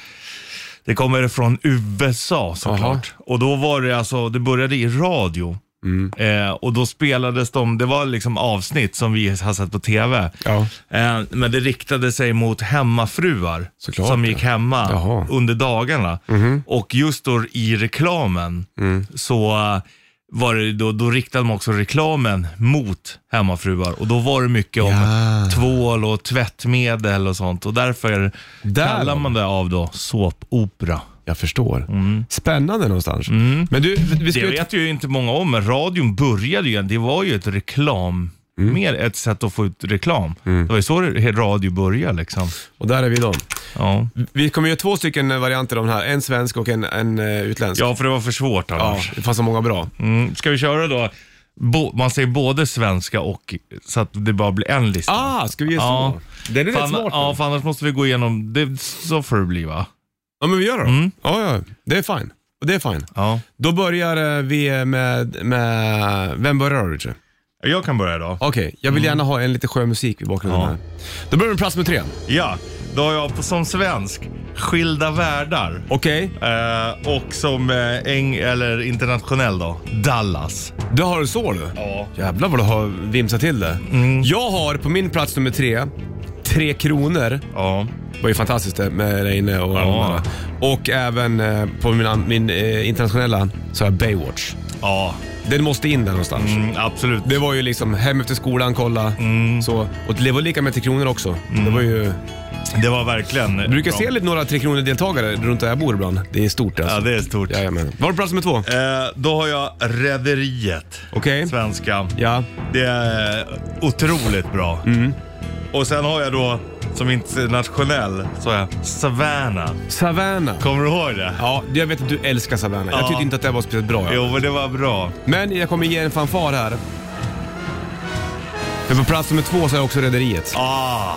[SPEAKER 3] Det kommer från USA såklart. Och då var det alltså, det började i radio.
[SPEAKER 2] Mm.
[SPEAKER 3] Eh, och då spelades de, det var liksom avsnitt som vi har sett på TV.
[SPEAKER 2] Ja.
[SPEAKER 3] Eh, men det riktade sig mot hemmafruar
[SPEAKER 2] Såklart,
[SPEAKER 3] som gick hemma
[SPEAKER 2] Jaha. Mhm.
[SPEAKER 3] under dagarna. Och just då i reklamen
[SPEAKER 2] Mm.
[SPEAKER 3] så eh, var det då, då riktade de också reklamen mot hemmafruar och då var det mycket om tvål och tvättmedel och sånt och därför
[SPEAKER 2] Där
[SPEAKER 3] kallar
[SPEAKER 2] då.
[SPEAKER 3] man det av då såpopera.
[SPEAKER 2] jag förstår. Spännande någonstans. Men du, vi ska
[SPEAKER 3] Mm. Det
[SPEAKER 2] ju...
[SPEAKER 3] vet ju inte många om, men radion började ju, det var ju ett reklam,
[SPEAKER 2] Mm.
[SPEAKER 3] mer ett sätt att få ut reklam. Det var ju så det- radio började liksom.
[SPEAKER 2] Och där är vi då.
[SPEAKER 3] Ja.
[SPEAKER 2] Vi kommer göra två stycken varianter av den här. En svensk och en, en eh, utländsk.
[SPEAKER 3] ja, för det var för svårt
[SPEAKER 2] Ja,
[SPEAKER 3] annars.
[SPEAKER 2] det fanns så många bra.
[SPEAKER 3] Mm. Ska vi köra då, bo, man säger både svenska och, så att det bara blir en lista.
[SPEAKER 2] Ah, ska vi göra
[SPEAKER 3] Ja.
[SPEAKER 2] så? Den är
[SPEAKER 3] Fan,
[SPEAKER 2] rätt smart.
[SPEAKER 3] ja,
[SPEAKER 2] Ja.
[SPEAKER 3] för annars måste vi gå igenom, det, så får det bli va?
[SPEAKER 2] ja, men vi gör det då.
[SPEAKER 3] Mm.
[SPEAKER 2] Ja, ja, det är fine. Och Det är fine.
[SPEAKER 3] Ja.
[SPEAKER 2] Då börjar eh, vi med, med... Vem börjar då, Richard?
[SPEAKER 3] Jag kan börja då.
[SPEAKER 2] Okej, jag vill gärna ha en lite skön musik i bakgrunden
[SPEAKER 3] Mm. Ja.
[SPEAKER 2] här. Då börjar vi med plats nummer tre.
[SPEAKER 3] Ja, då har jag på, som svensk, skilda världar.
[SPEAKER 2] Okej,
[SPEAKER 3] Eh, och som eh, eng, eller internationell då, Dallas.
[SPEAKER 2] du har det så du?
[SPEAKER 3] Ja. Mm.
[SPEAKER 2] Jävlar vad du har vimsat till det. Jag har på min plats nummer tre, Tre Kronor.
[SPEAKER 3] Ja.
[SPEAKER 2] Det var ju fantastiskt det med dig inne och
[SPEAKER 3] Ja.
[SPEAKER 2] ja. Och även eh, på mina, min eh, internationella så har jag Baywatch.
[SPEAKER 3] Ja,
[SPEAKER 2] Den måste in där någonstans.
[SPEAKER 3] mm, absolut.
[SPEAKER 2] Det var ju liksom hem efter skolan, kolla.
[SPEAKER 3] Mm.
[SPEAKER 2] Så. Och det var lika med Tre Kronor också. Det var ju...
[SPEAKER 3] Det var verkligen
[SPEAKER 2] Du brukar se lite några Tre Kronor-deltagare runt där jag bor ibland. Det är stort alltså.
[SPEAKER 3] Ja, det är stort.
[SPEAKER 2] Jajamän. Var det plats nummer två?
[SPEAKER 3] Eh, då har jag Rederiet.
[SPEAKER 2] Okej.
[SPEAKER 3] Svenska.
[SPEAKER 2] Ja.
[SPEAKER 3] eh, Mm. Det är otroligt bra. Och sen har jag då som internationell sa jag Savannah.
[SPEAKER 2] Savannah.
[SPEAKER 3] Kommer du ihåg det?
[SPEAKER 2] Ja, jag vet att du älskar Savannah. Jag
[SPEAKER 3] Ja.
[SPEAKER 2] tyckte inte att det var speciellt bra. Ja.
[SPEAKER 3] Jo, men det var bra.
[SPEAKER 2] Men jag kommer ge en fanfar här. För på plats nummer två så har jag också Rederiet.
[SPEAKER 3] Ah,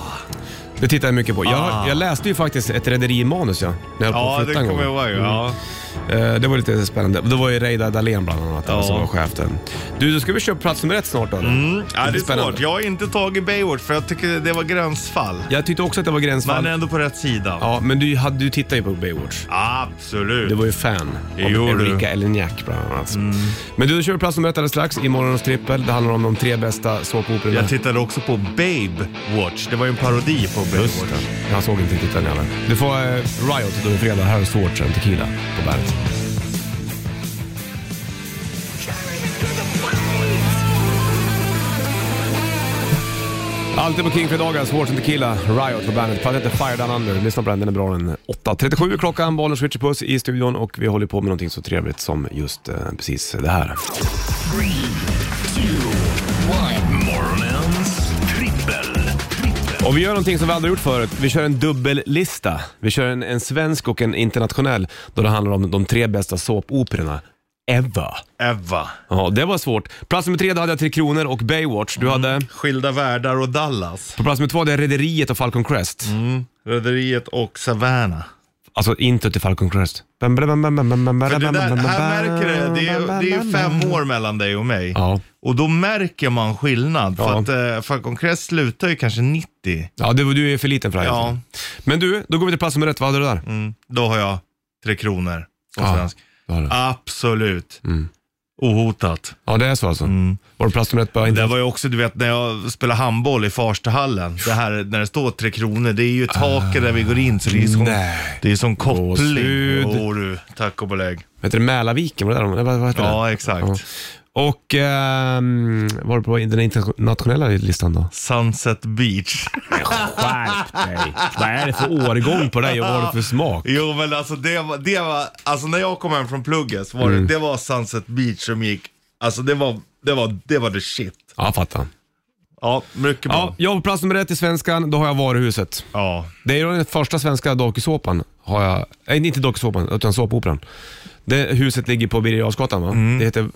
[SPEAKER 2] Det tittar jag mycket på.
[SPEAKER 3] Ah.
[SPEAKER 2] Jag, jag läste ju faktiskt ett Rederi-manus ja, när jag höll på
[SPEAKER 3] ja,
[SPEAKER 2] att
[SPEAKER 3] det
[SPEAKER 2] flytta en
[SPEAKER 3] kommer jag
[SPEAKER 2] gång.
[SPEAKER 3] ihåg. Ja.
[SPEAKER 2] Eh, Det var lite spännande. Det var ju Reidar Dahlén bland annat
[SPEAKER 3] Ja.
[SPEAKER 2] som var chef där. Du, då ska vi köpa plats nummer ett snart då. eller?
[SPEAKER 3] Mm. ja, det
[SPEAKER 2] blir
[SPEAKER 3] är svårt. Jag har inte tagit Baywatch för jag tycker det var gränsfall.
[SPEAKER 2] Jag tyckte också att det var gränsfall.
[SPEAKER 3] Man är ändå på rätt sida.
[SPEAKER 2] Ja, men du, hade, du tittade ju på Baywatch.
[SPEAKER 3] Absolut.
[SPEAKER 2] Du var ju fan av
[SPEAKER 3] Jo, du. Mm.
[SPEAKER 2] Ulrika Eleniak bland annat. Men du, då kör vi plats nummer ett alldeles strax i morgonens trippel. Det handlar om de tre bästa såpoperorna.
[SPEAKER 3] Jag tittade också på Babe Watch. Det var ju en parodi på Baywatch.
[SPEAKER 2] Jag såg inte titeln heller. Du får eh, Riot då är det fredag. Här är Swartz and Tequila på bandet. Alltid på Kingfredagar, Swartz and Tequila, Riot på bandet. Plattan heter Fire Down Under. Lyssna på den, den är bra den. 8.37 är klockan, bollen switcher puss i studion och vi håller på med någonting så trevligt som just eh, precis det här.
[SPEAKER 10] Morgonens trippel.
[SPEAKER 2] Och vi gör någonting som vi aldrig gjort förut. Vi kör en dubbellista. Vi kör en, en svensk och en internationell då det handlar om de tre bästa såpoperorna ever.
[SPEAKER 3] Eva.
[SPEAKER 2] Ja, det var svårt. Plats nummer tre, då hade jag Tre Kronor och Baywatch. Du hade...
[SPEAKER 3] Skilda världar och Dallas.
[SPEAKER 2] På plats nummer två hade jag Rederiet och Falcon Crest.
[SPEAKER 3] Mm. Rederiet och Savannah.
[SPEAKER 2] Alltså inte till Falcon Crest. Bam, bam, bam, bam, bam, bam, bam,
[SPEAKER 3] För det där,
[SPEAKER 2] bam,
[SPEAKER 3] här
[SPEAKER 2] bam,
[SPEAKER 3] märker du, det
[SPEAKER 2] bam,
[SPEAKER 3] är, det är
[SPEAKER 2] bam,
[SPEAKER 3] ju fem
[SPEAKER 2] bam.
[SPEAKER 3] år mellan dig och mig.
[SPEAKER 2] Ja.
[SPEAKER 3] Och då märker man skillnad. För
[SPEAKER 2] Ja.
[SPEAKER 3] att eh, Falcon Crest slutar ju kanske 90.
[SPEAKER 2] Ja, du, du är för liten för det här. liksom.
[SPEAKER 3] Ja,
[SPEAKER 2] Men du, då går vi till plats nummer ett. Vad hade du där?
[SPEAKER 3] mm. då har jag Tre Kronor som
[SPEAKER 2] Ja.
[SPEAKER 3] svensk.
[SPEAKER 2] Då har du.
[SPEAKER 3] Absolut.
[SPEAKER 2] Mm.
[SPEAKER 3] Ohotat.
[SPEAKER 2] Ja, det är så alltså.
[SPEAKER 3] Mm.
[SPEAKER 2] Var det plats nummer ett på
[SPEAKER 3] Det var ju också, du vet, när jag spelade handboll i Farstahallen. Det här när det står Tre Kronor, det är ju taket där vi går in. Så det är ju som,
[SPEAKER 2] Nej.
[SPEAKER 3] det är som koppling.
[SPEAKER 2] Gåshud.
[SPEAKER 3] Jo du, tack och belägg.
[SPEAKER 2] Vad heter det? Mälarviken? Var det där? de- Vad, vad heter det?
[SPEAKER 3] Ja, exakt.
[SPEAKER 2] Ja. Och ehm, vad var det på den internationella listan då?
[SPEAKER 3] Sunset Beach.
[SPEAKER 2] Skärp dig! Vad är det för årgång på dig och vad har du för smak?
[SPEAKER 3] Jo men alltså det var, det var, alltså när jag kom hem från plugget så var det, det var Sunset Beach som gick, alltså det var, det var, det var the shit.
[SPEAKER 2] Ja, jag fattar.
[SPEAKER 3] Ja, mycket bra.
[SPEAKER 2] Ja, jag har på plats nummer ett i svenskan, då har jag Varuhuset.
[SPEAKER 3] Ja.
[SPEAKER 2] Det är ju den första svenska dokusåpan, har jag, nej inte dokusåpan, utan såpoperan. Det huset ligger på Birger Jarlsgatan va? Det, heter,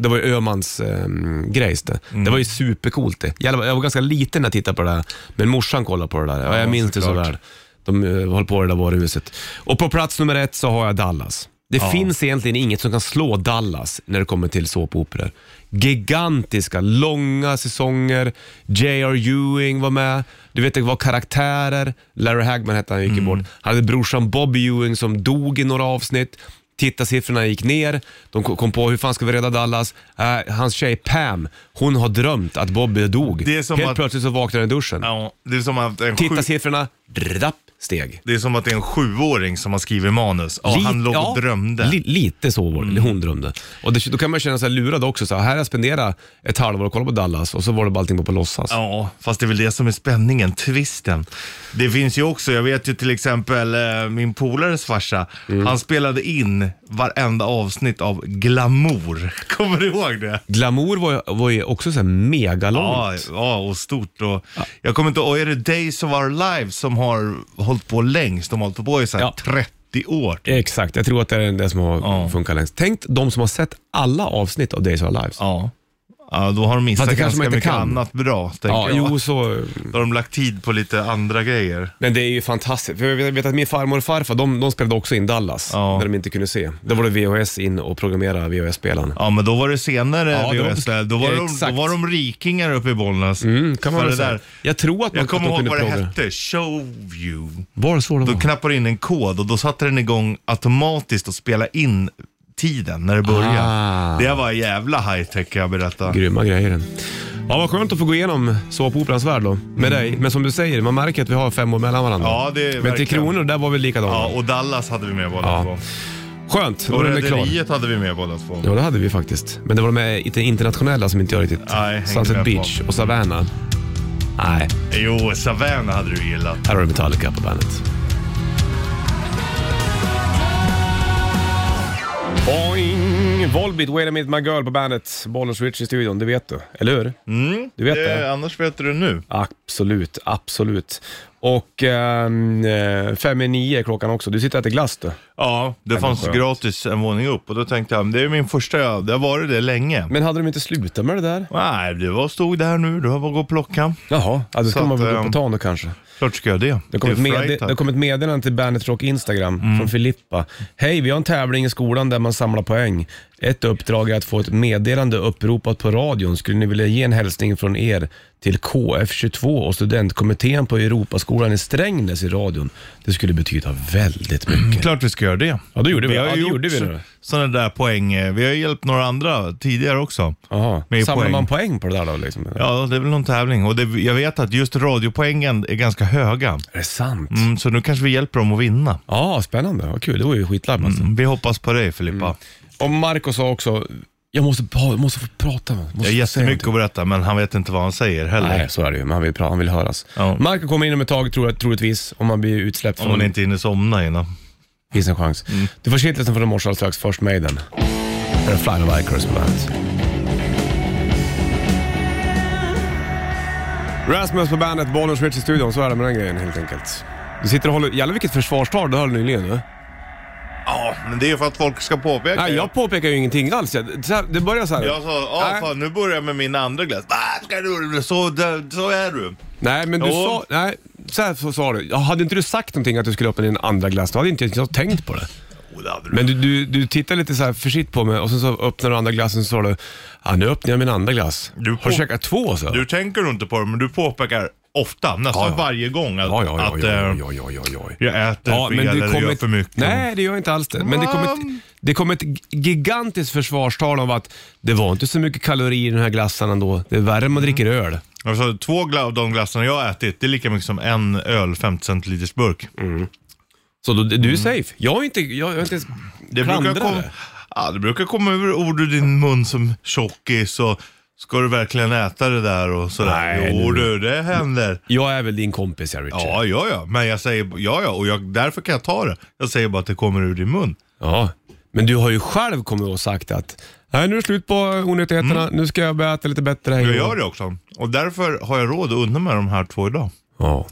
[SPEAKER 2] det var ju Öhmans um, grejs det. Det var ju supercoolt det. Jag var, jag var ganska liten när jag tittade på det där, men morsan kollade på det där. Ja, jag minns det så
[SPEAKER 3] såklart.
[SPEAKER 2] väl. De uh, höll på i det där varuhuset. Och på plats nummer ett så har jag Dallas. Det finns egentligen inget som kan slå Dallas när det kommer till såpoperor. Gigantiska, långa säsonger, J.R. Ewing var med, du vet det var karaktärer, Larry Hagman hette han, gick mm. bort. Han hade brorsan Bobby Ewing som dog i några avsnitt. Tittarsiffrorna gick ner, de ko- kom på hur fan ska vi rädda Dallas? Äh, hans tjej Pam, hon har drömt att Bobby dog.
[SPEAKER 3] Det är som
[SPEAKER 2] Helt
[SPEAKER 3] att-
[SPEAKER 2] plötsligt så vaknar han i duschen.
[SPEAKER 3] ja. Det är som att en, sju,
[SPEAKER 2] Tittarsiffrorna, drapp, steg.
[SPEAKER 3] det är som att det är en sjuåring som har skrivit manus. Ja,
[SPEAKER 2] Lite-
[SPEAKER 3] han låg och
[SPEAKER 2] ja,
[SPEAKER 3] drömde. Mm.
[SPEAKER 2] Li, lite så var det, eller hon drömde. Och det, då kan man känna sig lurad också. Så här, här har jag spenderat ett halvår och kollat på Dallas och så var det bara allting bara på låtsas.
[SPEAKER 3] Ja, fast det är väl det som är spänningen, twisten. Det finns ju också, jag vet ju till exempel eh, min polares farsa, han spelade in varenda avsnitt av Glamour. <laughs> Kommer du ihåg det?
[SPEAKER 2] Glamour var, ju- var ju också så här
[SPEAKER 3] Ja,
[SPEAKER 2] megalångt.
[SPEAKER 3] ja, och stort. Och, Jag kommer inte och är det Days of Our Lives som har hållit på längst? De har hållit på i så här
[SPEAKER 2] Ja.
[SPEAKER 3] 30 år.
[SPEAKER 2] Exakt, jag tror att det är det som har
[SPEAKER 3] Ja.
[SPEAKER 2] funkat längst. Tänk de som har sett alla avsnitt av Days of Our Lives. Ja,
[SPEAKER 3] Ja. ja, då har de missat
[SPEAKER 2] Fast det kanske
[SPEAKER 3] ganska
[SPEAKER 2] man inte
[SPEAKER 3] mycket
[SPEAKER 2] kan.
[SPEAKER 3] annat bra, tänker jag.
[SPEAKER 2] jo så...
[SPEAKER 3] Då har de lagt tid på lite andra grejer.
[SPEAKER 2] Men det är ju fantastiskt. För jag vet- jag vet att min farmor och farfar, de, de spelade också in Dallas
[SPEAKER 3] Ja.
[SPEAKER 2] när de inte kunde se. Då var det VHS in och programmera VHS-spelaren.
[SPEAKER 3] Ja, men då var det senare
[SPEAKER 2] Ja,
[SPEAKER 3] ja,
[SPEAKER 2] det var-
[SPEAKER 3] VHS där. Då var,
[SPEAKER 2] Ja,
[SPEAKER 3] de,
[SPEAKER 2] exakt.
[SPEAKER 3] då var de rikingar uppe i Bollnäs.
[SPEAKER 2] Mm, kan man
[SPEAKER 3] För
[SPEAKER 2] väl
[SPEAKER 3] det
[SPEAKER 2] säga.
[SPEAKER 3] där.
[SPEAKER 2] Jag tror att man
[SPEAKER 3] Jag kommer
[SPEAKER 2] att de
[SPEAKER 3] ihåg vad det
[SPEAKER 2] programmera.
[SPEAKER 3] hette, Showview.
[SPEAKER 2] Var det så det
[SPEAKER 3] Då
[SPEAKER 2] var?
[SPEAKER 3] knappar du in en kod och då satte den igång automatiskt och spela in tiden när det började.
[SPEAKER 2] Ah.
[SPEAKER 3] Det var jävla high tech kan jag berätta.
[SPEAKER 2] Grymma grejer. Ja, vad skönt att få gå igenom såpoperans värld då, med dig. Men som du säger, man märker att vi har fem år mellan varandra.
[SPEAKER 3] Mm. Ja, det är
[SPEAKER 2] Men till
[SPEAKER 3] verkligen.
[SPEAKER 2] Kronor, där var vi likadana.
[SPEAKER 3] Ja, och Dallas hade vi med båda
[SPEAKER 2] Ja.
[SPEAKER 3] två.
[SPEAKER 2] Skönt, då
[SPEAKER 3] Och
[SPEAKER 2] var den klar.
[SPEAKER 3] Rederiet hade vi med båda två.
[SPEAKER 2] Ja, det hade vi faktiskt. Men det var de här inte- internationella som inte jag riktigt...
[SPEAKER 3] Nej, hängde
[SPEAKER 2] Sunset
[SPEAKER 3] med på.
[SPEAKER 2] Beach och Savannah. Nej,
[SPEAKER 3] Jo, Savannah hade du gillat.
[SPEAKER 2] här har du Metallica på bandet. Boing, Sting, Volbeat, Wait a minute my girl på bandet. Bollens Rich i studion, det vet du. Eller hur?
[SPEAKER 3] Mm,
[SPEAKER 2] Du vet
[SPEAKER 3] det,
[SPEAKER 2] det?
[SPEAKER 3] annars vet du det nu.
[SPEAKER 2] Absolut, absolut. Och ehm, eh, fem i nio är klockan också. Du sitter och äter glass du.
[SPEAKER 3] Ja, det fanns
[SPEAKER 2] skönt.
[SPEAKER 3] gratis en våning upp och då tänkte jag, det är min första öl, det har varit det länge.
[SPEAKER 2] Men hade de inte slutat med det där?
[SPEAKER 3] Nej, det var stod där nu, då har jag gått och plocka.
[SPEAKER 2] Jaha, ja, då
[SPEAKER 3] Så
[SPEAKER 2] ska man
[SPEAKER 3] att,
[SPEAKER 2] väl gå på
[SPEAKER 3] ehm,
[SPEAKER 2] tan då kanske.
[SPEAKER 3] Klart ska jag det.
[SPEAKER 2] Det kom,
[SPEAKER 3] är Mm.
[SPEAKER 2] ett med,
[SPEAKER 3] Freitag.
[SPEAKER 2] det kom ett meddelande till Bandet Rock Instagram från Filippa. Hej, vi har en tävling i skolan där man samlar poäng. Ett uppdrag är att få ett meddelande uppropat på radion. Skulle ni vilja ge en hälsning från er till KF22 och studentkommittén på Europaskolan i Strängnäs i radion? Det skulle betyda väldigt mycket.
[SPEAKER 3] Klart vi ska göra det.
[SPEAKER 2] Ja, det gjorde vi.
[SPEAKER 3] har
[SPEAKER 2] Ja, det
[SPEAKER 3] ju gjort
[SPEAKER 2] gjorde vi.
[SPEAKER 3] så-
[SPEAKER 2] då.
[SPEAKER 3] Sådana där poäng. eh, Vi har ju hjälpt några andra tidigare också.
[SPEAKER 2] Jaha.
[SPEAKER 3] Med
[SPEAKER 2] Samlar
[SPEAKER 3] poäng.
[SPEAKER 2] man poäng på det där då? Liksom?
[SPEAKER 3] Ja, det är väl någon tävling. Och det, jag vet att just radiopoängen är ganska höga.
[SPEAKER 2] Är det sant?
[SPEAKER 3] Mm, så nu kanske vi hjälper dem att vinna. Mm,
[SPEAKER 2] Ja, spännande. Vad kul. Det var ju skitlarm alltså.
[SPEAKER 3] Vi hoppas på dig Filippa.
[SPEAKER 2] Mm. Och Marco sa också, jag måste, pa- måste få prata. Måste
[SPEAKER 3] Jag har
[SPEAKER 2] få säga
[SPEAKER 3] jättemycket att berätta, men han vet inte vad han säger heller.
[SPEAKER 2] Nej, så är det ju. Men han vill, pra- han vill höras.
[SPEAKER 3] Ja.
[SPEAKER 2] Marco kommer in om ett tag tror, troligtvis, om man blir utsläppt
[SPEAKER 3] Om hon
[SPEAKER 2] från...
[SPEAKER 3] inte Mm. hinner somna innan.
[SPEAKER 2] Finns en chans. Du får shitlisten från i morse alldeles strax. Först Maiden. Här är Flying of Icarus på bandet. Rasmus på bandet, Bollnäs Rich i studion. Så är det med den grejen helt enkelt. Du sitter och håller... Jävlar vilket försvarstal du höll nyligen nu.
[SPEAKER 3] Ja, men det är för att folk ska påpeka.
[SPEAKER 2] Nej, jag påpekar ju ingenting alls. Jag- så här- Det börjar så här.
[SPEAKER 3] Jag sa, ja
[SPEAKER 2] Nej.
[SPEAKER 3] fan nu börjar jag med min andra glass. Ah, ska du, så, där- så är du.
[SPEAKER 2] Nej, men du
[SPEAKER 3] Jo.
[SPEAKER 2] sa... Nej, så här så sa du. Ja, Hade inte du sagt någonting att du skulle öppna din andra glass, då hade inte jag tänkt på det.
[SPEAKER 3] Oh, det hade du.
[SPEAKER 2] Men du, du, du tittar lite så här försiktigt på mig och sen så öppnar du andra glassen och så sa du ja, nu öppnar jag min andra glass.
[SPEAKER 3] Du
[SPEAKER 2] Har
[SPEAKER 3] på-
[SPEAKER 2] du käkat två så?
[SPEAKER 3] Du tänker nog inte på det, men du påpekar ofta, nästan
[SPEAKER 2] Ja, ja.
[SPEAKER 3] varje gång att,
[SPEAKER 2] ja, ja, ja,
[SPEAKER 3] att
[SPEAKER 2] ja,
[SPEAKER 3] eh,
[SPEAKER 2] ja, ja, ja, ja, ja.
[SPEAKER 3] jag äter fel eller gör för mycket.
[SPEAKER 2] Nej, det gör inte alls det. Men det kommer ett, det kom ett gigantiskt försvarstal om att det var inte så mycket kalorier i den här glassen ändå. Det är värre om man dricker öl.
[SPEAKER 3] Alltså, två gla- av de glassarna jag har ätit, det är lika mycket som en öl 50 centiliters burk.
[SPEAKER 2] Mm. Så då, du är safe. Jag är inte, jag, jag är inte ens
[SPEAKER 3] Mm. Det brukar,
[SPEAKER 2] klandrare.
[SPEAKER 3] komma, ja, det brukar komma ur ord ur din mun som tjockis och ska du verkligen äta det där och sådär.
[SPEAKER 2] Nej,
[SPEAKER 3] jo
[SPEAKER 2] nu- Mm.
[SPEAKER 3] du, det händer.
[SPEAKER 2] Jag är väl din kompis, ja, Richard.
[SPEAKER 3] Ja, ja, ja. Men jag säger, ja, ja, och jag, därför kan jag ta det. Jag säger bara att det kommer ur din mun.
[SPEAKER 2] Ja, men du har ju själv kommit och sagt att Nej, nu är det slut på onyttigheterna. Nu ska jag börja äta lite bättre. här i
[SPEAKER 3] Jag
[SPEAKER 2] år."
[SPEAKER 3] Mm. gör det också. Och därför har jag råd att unna mig de här två idag.
[SPEAKER 2] Ja.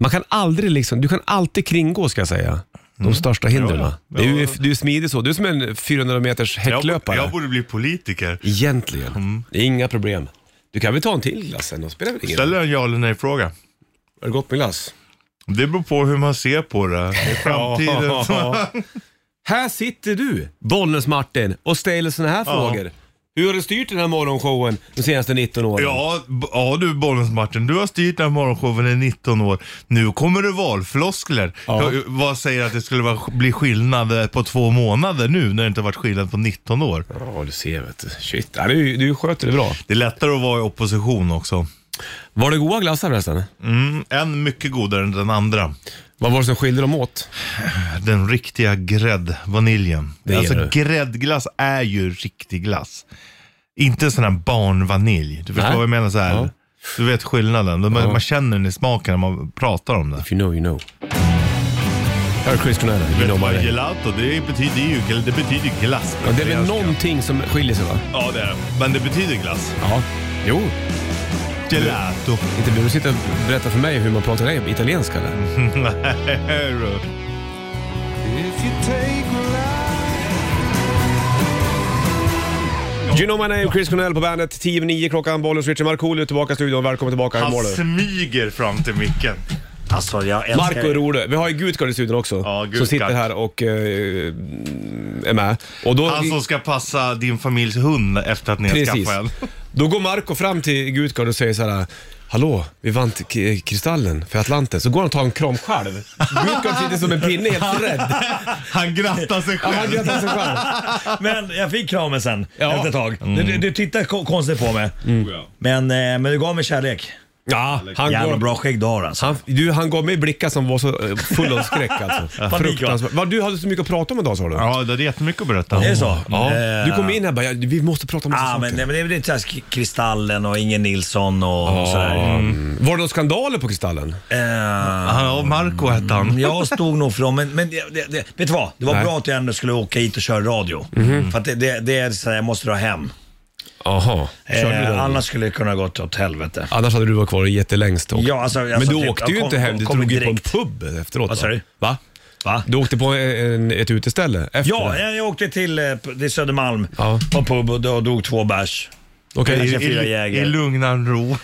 [SPEAKER 2] Man kan aldrig liksom, du kan alltid kringgå ska jag säga. De största hindren.
[SPEAKER 3] Mm. Ja, ja.
[SPEAKER 2] Det är ju, du är smidig så. Du är som en 400 meters
[SPEAKER 3] Jag,
[SPEAKER 2] häcklöpare.
[SPEAKER 3] jag Mm. borde bli politiker.
[SPEAKER 2] Egentligen. Det är inga problem. Du kan väl ta en till glass sen? då spelar väl ingen roll.
[SPEAKER 3] Ställer en ja eller nej fråga.
[SPEAKER 2] Har det gått med glass?
[SPEAKER 3] Det beror på hur man ser på det.
[SPEAKER 2] <laughs>
[SPEAKER 3] I framtiden.
[SPEAKER 2] Här sitter du, Bollnäs-Martin, och ställer såna här frågor. Hur har du styrt den här morgonshowen de senaste 19 åren?
[SPEAKER 3] Ja, b- ja du Bollnäs-Martin, du har styrt den här morgonshowen i 19 år. Nu kommer det valfloskler.
[SPEAKER 2] Ja.
[SPEAKER 3] Jag- Vad säger att det skulle vara, bli skillnad eh, på två månader nu när det inte har varit skillnad på 19 år?
[SPEAKER 2] Ja, du ser vet du. Shit, ja, du, du sköter det bra.
[SPEAKER 3] Det är lättare att vara i opposition också.
[SPEAKER 2] Var det goda glassar förresten?
[SPEAKER 3] Mm, en mycket godare än den andra.
[SPEAKER 2] Vad var det som skilde dem åt?
[SPEAKER 3] Den riktiga gräddvaniljen.
[SPEAKER 2] Det är
[SPEAKER 3] alltså
[SPEAKER 2] det.
[SPEAKER 3] gräddglass är ju riktig glass. Inte sån här barnvanilj. Du förstår
[SPEAKER 2] Nej.
[SPEAKER 3] vad jag menar? Så här.
[SPEAKER 2] Ja.
[SPEAKER 3] Du vet skillnaden. Man, man känner den i smaken när man pratar om det.
[SPEAKER 2] If you know, you know. Här är Chris Cornell, You
[SPEAKER 3] Vet
[SPEAKER 2] know
[SPEAKER 3] du
[SPEAKER 2] my
[SPEAKER 3] vad
[SPEAKER 2] name.
[SPEAKER 3] gelato, det betyder ju det betyder ju glass.
[SPEAKER 2] Ja, det är väl någonting som skiljer sig va?
[SPEAKER 3] Ja, det är det. Men det betyder glass.
[SPEAKER 2] Ja. Jo.
[SPEAKER 3] Gelato.
[SPEAKER 2] Inte behöver du sitta och berätta för mig hur man pratar i- italienska eller? You know my name, Chris Cornell på bandet. 10 över 9 klockan, Bollens Richard Markoolio tillbaka i studion. Välkommen tillbaka, hur mår
[SPEAKER 3] Han
[SPEAKER 2] du?
[SPEAKER 3] smyger fram till micken.
[SPEAKER 6] Alltså jag älskar
[SPEAKER 2] Marco är rolig. Vi har ju Gutgard i studion också.
[SPEAKER 3] Ja,
[SPEAKER 2] som
[SPEAKER 3] Guttgard.
[SPEAKER 2] sitter här och eh, är med. Och då,
[SPEAKER 3] Han som ska passa din familjs hund efter att ni har
[SPEAKER 2] Precis.
[SPEAKER 3] skaffat en.
[SPEAKER 2] Då går Marco fram till Gutgard och säger så här. Hallå, vi vann till K- Kristallen för Atlanten. Så går han och tar en kram själv. Gutgard sitter som en pinne helt rädd.
[SPEAKER 3] Han grattar sig
[SPEAKER 2] Ja, han
[SPEAKER 3] själv.
[SPEAKER 2] grattar sig själv.
[SPEAKER 6] Men jag fick kramen sen
[SPEAKER 2] Ja. Mm.
[SPEAKER 6] efter ett tag. Du, du, du tittade ko- konstigt på mig. Men, eh, men du gav mig kärlek.
[SPEAKER 2] Ja, han
[SPEAKER 6] Jävla
[SPEAKER 2] går,
[SPEAKER 6] bra skägg du har alltså.
[SPEAKER 2] Han, du, han gav mig blickar som var så eh, full av skräck
[SPEAKER 6] <laughs>
[SPEAKER 2] alltså.
[SPEAKER 6] Panik,
[SPEAKER 2] Fruktansvärt. Vad, Du hade så mycket att prata om idag sa du?
[SPEAKER 3] Ja, det är jättemycket att berätta om.
[SPEAKER 6] Är det så?
[SPEAKER 2] Ja.
[SPEAKER 6] Eh,
[SPEAKER 2] Du kom in här och bara, ja, vi måste prata om massa
[SPEAKER 6] Ja, men,
[SPEAKER 2] saker.
[SPEAKER 6] nej, men det är väl inte så här Kristallen och Ingen Nilsson och sådär.
[SPEAKER 2] Mm. Var det några skandaler på Kristallen?
[SPEAKER 6] Eh,
[SPEAKER 3] Han, och Marco hette han.
[SPEAKER 6] Jag stod nog för dem, men, men det, det, det, vet du vad? Det var
[SPEAKER 2] Nej. Mhm.
[SPEAKER 6] bra att jag ändå skulle åka hit och köra radio. För att det, det, det är så här, jag måste dra hem.
[SPEAKER 2] Jaha. Körde du den?
[SPEAKER 6] Eh, annars skulle det kunna gått åt helvete.
[SPEAKER 2] Annars hade du varit kvar jättelängst. Och...
[SPEAKER 6] Ja, alltså,
[SPEAKER 2] men
[SPEAKER 6] alltså,
[SPEAKER 2] du
[SPEAKER 6] typ,
[SPEAKER 2] åkte ju
[SPEAKER 6] jag
[SPEAKER 2] inte
[SPEAKER 6] kom-
[SPEAKER 2] hem, du
[SPEAKER 6] kom
[SPEAKER 2] drog ju på en
[SPEAKER 6] direkt.
[SPEAKER 2] pub efteråt.
[SPEAKER 6] Vad sa
[SPEAKER 2] va?
[SPEAKER 6] du?
[SPEAKER 2] Va?
[SPEAKER 6] Va?
[SPEAKER 2] Du åkte på en, ett uteställe efter
[SPEAKER 6] Ja,
[SPEAKER 2] det?
[SPEAKER 6] jag jag åkte till, eh, p- till Södermalm
[SPEAKER 2] Ja.
[SPEAKER 6] på en pub och då dog två bärs.
[SPEAKER 2] Okej.
[SPEAKER 6] jag
[SPEAKER 3] I,
[SPEAKER 6] käkade fyra
[SPEAKER 3] i,
[SPEAKER 6] Jäger.
[SPEAKER 3] i lugnan ro.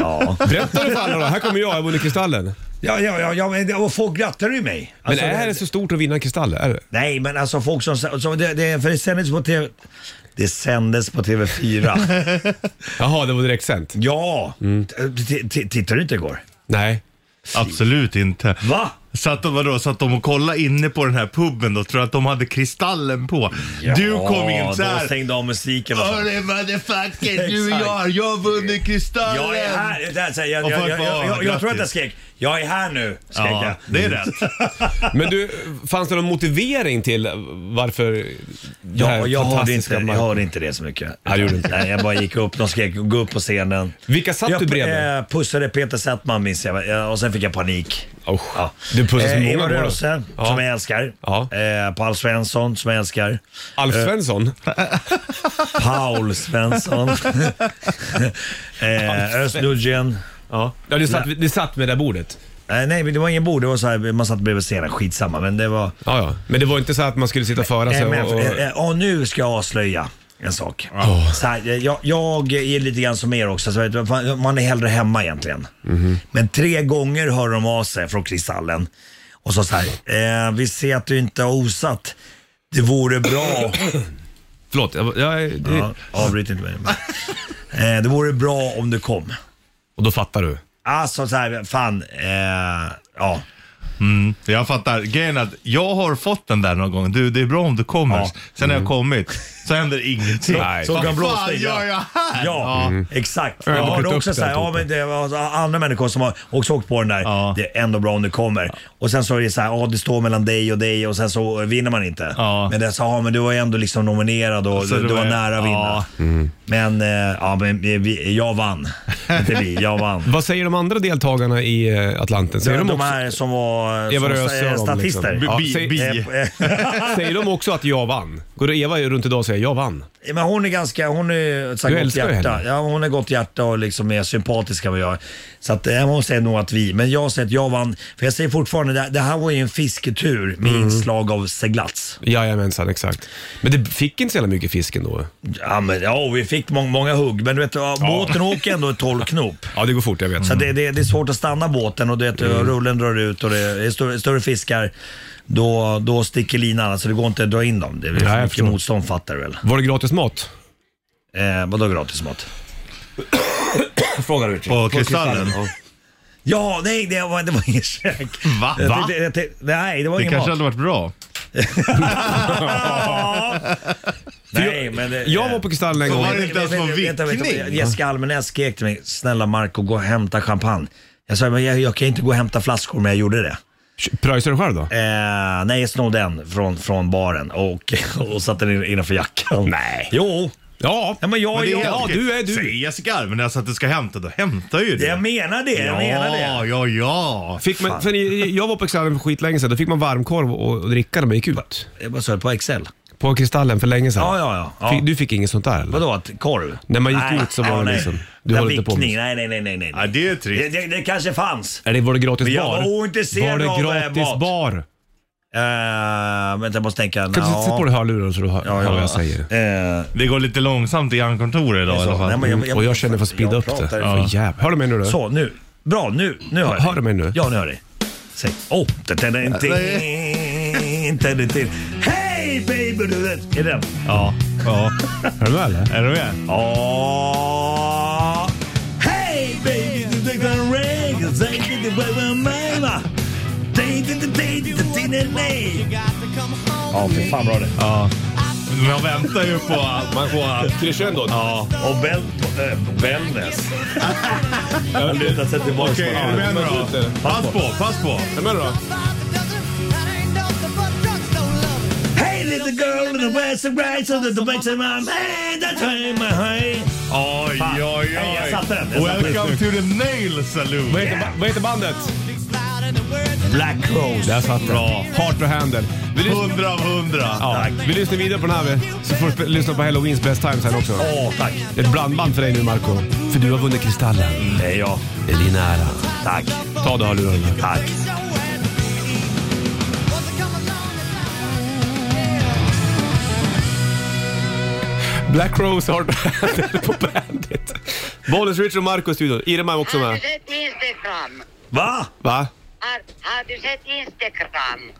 [SPEAKER 6] Ja.
[SPEAKER 2] Berätta nu för alla då. Här kommer jag, jag vunnit Kristallen.
[SPEAKER 6] <laughs> Ja, ja, ja, ja men det- och folk grattade ju mig.
[SPEAKER 2] Men
[SPEAKER 6] Alltså,
[SPEAKER 2] är det så stort att vinna en Kristall? Är det?
[SPEAKER 6] Nej, men alltså folk som... som det, det, för det sändes på TV... Det sändes på TV4.
[SPEAKER 2] Jaha, det var direkt sent.
[SPEAKER 6] ja! T- t- Tittade du inte igår?
[SPEAKER 2] Nej.
[SPEAKER 3] Absolut inte.
[SPEAKER 6] Va?
[SPEAKER 3] Satt de, vadå, satt de och kollade inne på den här puben då? Tror att de hade kristallen på? du kom in
[SPEAKER 6] Då
[SPEAKER 3] såhär.
[SPEAKER 6] stängde av musiken. vad fan.
[SPEAKER 3] Hörru motherfucker, du och
[SPEAKER 6] Exakt.
[SPEAKER 3] jag, jag har vunnit kristallen.
[SPEAKER 6] Jag är här! Det här så här, jag,
[SPEAKER 3] Och
[SPEAKER 6] jag,
[SPEAKER 3] folk
[SPEAKER 6] jag,
[SPEAKER 3] bara,
[SPEAKER 6] jag, jag, jag tror att jag
[SPEAKER 3] grattis.
[SPEAKER 6] skrek “Jag är här nu” skrek
[SPEAKER 3] Ja,
[SPEAKER 6] jag.
[SPEAKER 3] det är rätt.
[SPEAKER 2] Men du, fanns det någon motivering till varför det här
[SPEAKER 6] Ja, jag, hörde
[SPEAKER 2] fantastiska
[SPEAKER 6] inte, jag
[SPEAKER 2] mark-
[SPEAKER 6] hörde inte det så mycket.
[SPEAKER 2] Ja, det gjorde du inte.
[SPEAKER 6] Nej, jag bara gick upp, de skrek “Gå upp på scenen”.
[SPEAKER 2] Vilka satt
[SPEAKER 6] jag,
[SPEAKER 2] du bredvid?
[SPEAKER 6] eh, pussade Peter Settman minns jag eh, och sen fick jag panik. Eh,
[SPEAKER 2] Usch. Du pussade så många
[SPEAKER 6] Eva
[SPEAKER 2] då, då.
[SPEAKER 6] Röse,
[SPEAKER 2] Ja.
[SPEAKER 6] som jag älskar.
[SPEAKER 2] Ja.
[SPEAKER 6] Eh, Paul Svensson, som jag älskar.
[SPEAKER 2] Alf
[SPEAKER 6] Eh,
[SPEAKER 2] Svensson? <laughs>
[SPEAKER 6] Paul Svensson. eh, Özz
[SPEAKER 2] Ja, ja du, satt, du satt med det där bordet?
[SPEAKER 6] Eh, nej, men det var ingen bord. Det var så här, man satt bredvid scenen. Skitsamma, men det var...
[SPEAKER 2] Ja, ja. Men det var inte så att man skulle sitta och föra sig
[SPEAKER 6] Eh, men,
[SPEAKER 2] och... och...
[SPEAKER 6] eh, eh, och nu ska jag avslöja en sak. Så här, eh, jag, jag är lite grann som er också, så vet, du, fan, man är hellre hemma egentligen. Men tre gånger hör de av sig från Kristallen och så, så här, eh, vi ser att du inte har osat. Det vore bra...
[SPEAKER 2] Förlåt, jag, jag, det...
[SPEAKER 6] ja, avbryt inte mig. Men, eh, det vore bra om du kom.
[SPEAKER 2] Och då fattar du?
[SPEAKER 6] Alltså så här, fan, eh, ja.
[SPEAKER 3] Mm. Jag fattar. Grejen är att jag har fått den där någon gång. Du, det är bra om du kommer.
[SPEAKER 6] Ja.
[SPEAKER 3] Sen när jag kommit så händer ingenting.
[SPEAKER 2] Nej.
[SPEAKER 6] Så kan
[SPEAKER 3] Vad
[SPEAKER 6] blå
[SPEAKER 3] fan
[SPEAKER 6] stänga.
[SPEAKER 3] gör jag här?
[SPEAKER 6] Ja, mm, exakt.
[SPEAKER 2] Jag
[SPEAKER 6] Jag
[SPEAKER 2] har
[SPEAKER 6] har
[SPEAKER 2] plockat
[SPEAKER 6] också
[SPEAKER 2] upp
[SPEAKER 6] så här,
[SPEAKER 2] den
[SPEAKER 6] ja, men det var alltså andra människor som har också åkt på den där.
[SPEAKER 3] Ja.
[SPEAKER 6] Det är ändå bra om du kommer. Och sen så är det så här, ja det står mellan dig och dig och sen så vinner man inte.
[SPEAKER 3] Ja.
[SPEAKER 6] Men det är så, ja men du var ju ändå liksom nominerad och
[SPEAKER 3] Så
[SPEAKER 6] du,
[SPEAKER 3] det
[SPEAKER 6] du var
[SPEAKER 3] var-
[SPEAKER 6] nära att vinna.
[SPEAKER 3] ja.
[SPEAKER 6] Men, eh, ja, men vi- vi, jag vann. inte vi, jag vann.
[SPEAKER 2] Vad säger de andra deltagarna i eh, Atlanten? Säger
[SPEAKER 6] de,
[SPEAKER 2] de,
[SPEAKER 6] de
[SPEAKER 2] också,
[SPEAKER 6] här som var
[SPEAKER 2] Eva
[SPEAKER 6] som,
[SPEAKER 2] Röse och
[SPEAKER 6] eh,
[SPEAKER 2] de,
[SPEAKER 6] statister.
[SPEAKER 2] liksom. Ja,
[SPEAKER 3] Bi,
[SPEAKER 2] säg-
[SPEAKER 3] bi.
[SPEAKER 6] Eh, <laughs> eh,
[SPEAKER 2] säger de också att jag vann? Går Eva runt idag och säger jag vann?
[SPEAKER 6] Men hon är ganska, hon är ett så
[SPEAKER 2] Du
[SPEAKER 6] här, gott
[SPEAKER 2] älskar ju
[SPEAKER 6] hjärta.
[SPEAKER 2] henne.
[SPEAKER 6] Ja, hon är gott hjärta och liksom är sympatisk vad jag är. Så att, eh, hon säger nog att vi, men jag säger att jag vann. För jag säger fortfarande, det, det här var ju en fisketur med inslag av seglats.
[SPEAKER 2] Jajamensan, exakt. Men det fick inte så jävla mycket fisk ändå.
[SPEAKER 6] Ja, men, ja vi fick mång, många hugg, men du vet, ja. Mm. båten åker ändå 12 knop.
[SPEAKER 2] Ja, det går fort, jag vet.
[SPEAKER 6] Så det, det, det är svårt att stanna båten och du vet, rullen drar ut och det är större, större fiskar. Då, då sticker linan, alltså det går inte att dra in dem. Det är
[SPEAKER 2] jag
[SPEAKER 6] för mycket
[SPEAKER 2] förstår.
[SPEAKER 6] motstånd fattar du väl?
[SPEAKER 2] Var det gratis mat?
[SPEAKER 6] Eh, vadå gratis mat?
[SPEAKER 2] Frågar du
[SPEAKER 3] På kristallen.
[SPEAKER 6] Ja, nej det var, det var ingen käk.
[SPEAKER 3] Va?
[SPEAKER 6] Jag
[SPEAKER 3] Va?
[SPEAKER 6] tänkte- jag tänkte- nej, det var
[SPEAKER 3] Det
[SPEAKER 6] ingen mat.
[SPEAKER 3] kanske hade varit bra.
[SPEAKER 6] <laughs> nej, men det,
[SPEAKER 2] Jag var på Kristallen en
[SPEAKER 3] Så
[SPEAKER 2] gång.
[SPEAKER 3] var det inte ens på
[SPEAKER 6] Vänta, vänta, vänta.
[SPEAKER 3] vickning.
[SPEAKER 6] Jessica Almenäs skrek till mig, snälla Marco gå och hämta champagne. Jag sa, men jag, jag kan inte gå och hämta flaskor, men jag gjorde det.
[SPEAKER 2] Pröjsade du själv då?
[SPEAKER 6] Eh, nej, jag snodde en från, från baren och, <laughs> och satte den innanför jackan. Nej. Jo.
[SPEAKER 2] Ja,
[SPEAKER 6] Ja, men jag,
[SPEAKER 3] Men det är
[SPEAKER 6] jag,
[SPEAKER 3] helt
[SPEAKER 6] ja,
[SPEAKER 3] okej.
[SPEAKER 6] du,
[SPEAKER 2] är du.
[SPEAKER 3] Säg Jessica men alltså att du ska hämta, då hämtar ju du.
[SPEAKER 6] jag menar det, jag menar det.
[SPEAKER 3] Ja, ja, ja.
[SPEAKER 2] Fick man, sen, jag var på Kristallen för skitlänge sedan. Då fick man varmkorv och, och dricka när man gick ut.
[SPEAKER 6] Jag bara sa på Excel.
[SPEAKER 2] På Kristallen för länge sedan.
[SPEAKER 6] Ja, ja, ja.
[SPEAKER 2] Fick,
[SPEAKER 6] ja.
[SPEAKER 2] du fick inget sånt där? eller?
[SPEAKER 6] Vadå, att korv?
[SPEAKER 2] När man gick ut så var det liksom- du
[SPEAKER 6] Du
[SPEAKER 2] höll inte på med
[SPEAKER 6] vickning,
[SPEAKER 2] det.
[SPEAKER 6] nej, nej, nej, nej. nej.
[SPEAKER 3] Ja, det är
[SPEAKER 6] Det,
[SPEAKER 3] trist.
[SPEAKER 6] det, det kanske fanns.
[SPEAKER 2] Eller var det gratis
[SPEAKER 6] Men jag
[SPEAKER 2] bar?
[SPEAKER 6] var ointresserad
[SPEAKER 2] var det
[SPEAKER 6] av, eh,
[SPEAKER 2] gratis
[SPEAKER 6] mat.
[SPEAKER 2] bar?
[SPEAKER 6] Uh, Eh, vänta, jag måste tänka.
[SPEAKER 2] Kan du
[SPEAKER 6] nja.
[SPEAKER 2] sätta på dig hörluren så du hör, hör vad jag säger?
[SPEAKER 6] Eh,
[SPEAKER 3] Det går lite långsamt i Ann-kontoret idag i alla fall.
[SPEAKER 6] Nej, men
[SPEAKER 2] och jag känner för att speeda
[SPEAKER 6] jag
[SPEAKER 2] upp det.
[SPEAKER 6] pratar-
[SPEAKER 2] Ja. Jävlar. Hör du mig nu? Då?
[SPEAKER 6] Så, nu. Bra, nu, nu hör jag
[SPEAKER 2] Hör du mig nu?
[SPEAKER 6] Ja, nu hör jag dig. Säg. Oh. tin, tin, tin, tin, tin, tin. Hej baby! Du vet. Är det den?
[SPEAKER 3] Ja, ja.
[SPEAKER 2] Är du med eller?
[SPEAKER 3] Är du med?
[SPEAKER 6] Ja. Hej baby! Du vet den regn. Säg inte bara mamma. Ja, fy fan bra det.
[SPEAKER 3] Ja. Man väntar ju på att... På att
[SPEAKER 2] Crescendot.
[SPEAKER 3] ja.
[SPEAKER 6] Och Bell, äh,
[SPEAKER 3] <laughs>
[SPEAKER 6] Bellnäs. Jag lutar sig tillbaka.
[SPEAKER 3] Okej, är du med nu då? Pass på, pass på.
[SPEAKER 2] Är du med då?
[SPEAKER 6] Hey little girl in the west of grace of the dimension man. Hey, that's why my hey.
[SPEAKER 3] Oj,
[SPEAKER 6] Fan.
[SPEAKER 3] oj,
[SPEAKER 6] Nej, jag
[SPEAKER 3] oj.
[SPEAKER 6] satte den. Jag satte den.
[SPEAKER 3] Welcome to the nail saloon.
[SPEAKER 2] Vad heter, ba- vad heter bandet?
[SPEAKER 6] Black Rose.
[SPEAKER 2] Där satt
[SPEAKER 3] Bra.
[SPEAKER 2] Heart to Handle. Vi, lys-
[SPEAKER 3] 100 av 100.
[SPEAKER 2] ja, vi lyssnar vidare på den här vi. Så får du sp- lyssna på Halloweens Best Time sen också.
[SPEAKER 6] Åh, tack.
[SPEAKER 2] Ett blandband för dig nu Marco För du har vunnit Kristallen.
[SPEAKER 6] Det är jag.
[SPEAKER 2] Det är din ära.
[SPEAKER 6] Tack.
[SPEAKER 2] Ta det hörlurarna.
[SPEAKER 6] Tack.
[SPEAKER 2] Black Rose <laughs> Heart to Handle på Bandit. Bollens Richard och Marco i studion. Irma är också med.
[SPEAKER 9] sett Instagram?
[SPEAKER 6] Va?
[SPEAKER 2] Va?
[SPEAKER 9] Har, har du sett Instagram?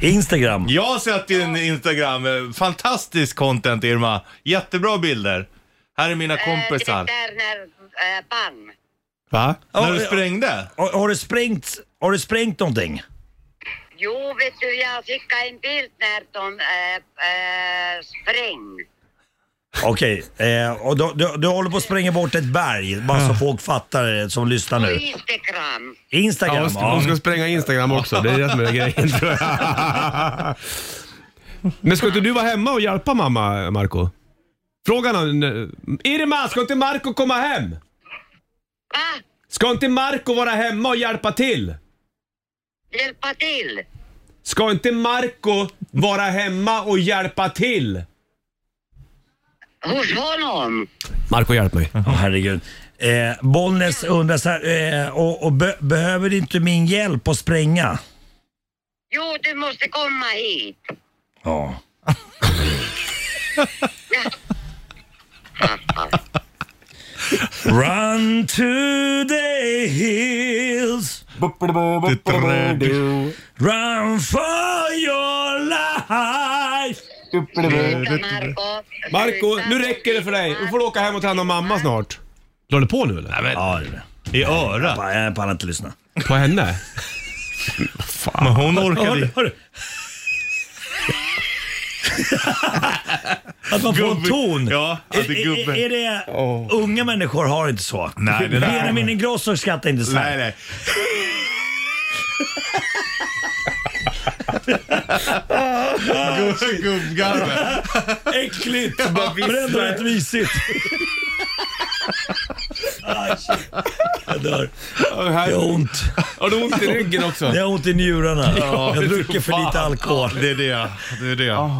[SPEAKER 6] Instagram.
[SPEAKER 3] Jag har sett din Instagram. Eh, Fantastisk content, Irma. Jättebra bilder. Här är mina kompisar.
[SPEAKER 9] där när äh, bang.
[SPEAKER 2] Va?
[SPEAKER 3] När du
[SPEAKER 6] Ja, ja.
[SPEAKER 3] sprängde?
[SPEAKER 6] Har, har, du sprängt, har du sprängt någonting?
[SPEAKER 9] Jo, vet du, jag skickade en bild när de äh, äh, spräng.
[SPEAKER 6] Okej, eh, och du, du, du håller på att spränga bort ett berg, bara
[SPEAKER 2] Ah.
[SPEAKER 6] så folk fattar det som lyssnar
[SPEAKER 9] På
[SPEAKER 6] nu.
[SPEAKER 9] Instagram.
[SPEAKER 2] Ja,
[SPEAKER 6] Instagram,
[SPEAKER 2] hon ska-
[SPEAKER 6] ja.
[SPEAKER 2] hon ska spränga Instagram också. Det är det som är grejen tror <laughs> jag. Men ska inte du vara hemma och hjälpa mamma, Marco? Frågan är... Irma, ska inte Marco komma hem?
[SPEAKER 9] Va?
[SPEAKER 2] Ska inte Marco vara hemma och hjälpa till?
[SPEAKER 9] Hjälpa till.
[SPEAKER 2] Ska inte Marco vara hemma och hjälpa till?
[SPEAKER 9] Hos honom.
[SPEAKER 2] Marco hjälp mig.
[SPEAKER 6] Åh, herregud. Eh, Bollnäs undrar så här, eh, och, och be, behöver inte min hjälp att spränga?
[SPEAKER 9] Jo, du måste komma hit.
[SPEAKER 6] Ja. Run to the hills, run for your life.
[SPEAKER 9] Sluta, Marco.
[SPEAKER 2] Marco,
[SPEAKER 9] Sluta.
[SPEAKER 2] nu räcker det för dig. Du får åka hem och ta hand om mamma snart. La du på nu eller?
[SPEAKER 6] Ja, det är det.
[SPEAKER 3] I örat?
[SPEAKER 6] Fan, Jag pallar inte lyssna.
[SPEAKER 2] På henne?
[SPEAKER 3] Men hon orkade
[SPEAKER 6] Hör, hör. att man får en
[SPEAKER 3] Gubbe.
[SPEAKER 6] ton.
[SPEAKER 3] Ja, alltså, att det är
[SPEAKER 6] är,
[SPEAKER 3] gubbe.
[SPEAKER 6] är, är det, Unga människor har inte så.
[SPEAKER 3] Nej, det där-
[SPEAKER 6] Benjamin Ingrosso skrattar inte så
[SPEAKER 3] Nej,
[SPEAKER 6] här.
[SPEAKER 3] nej. Gubb- Gubbgarvet.
[SPEAKER 6] Äckligt! Men ändå rätt mysigt. Ah, shit. Jag dör. Jag har ont.
[SPEAKER 2] Har du ont i ryggen också?
[SPEAKER 6] Jag har ont i njurarna. Jag har druckit för lite alkohol.
[SPEAKER 3] Det är det. Det är det.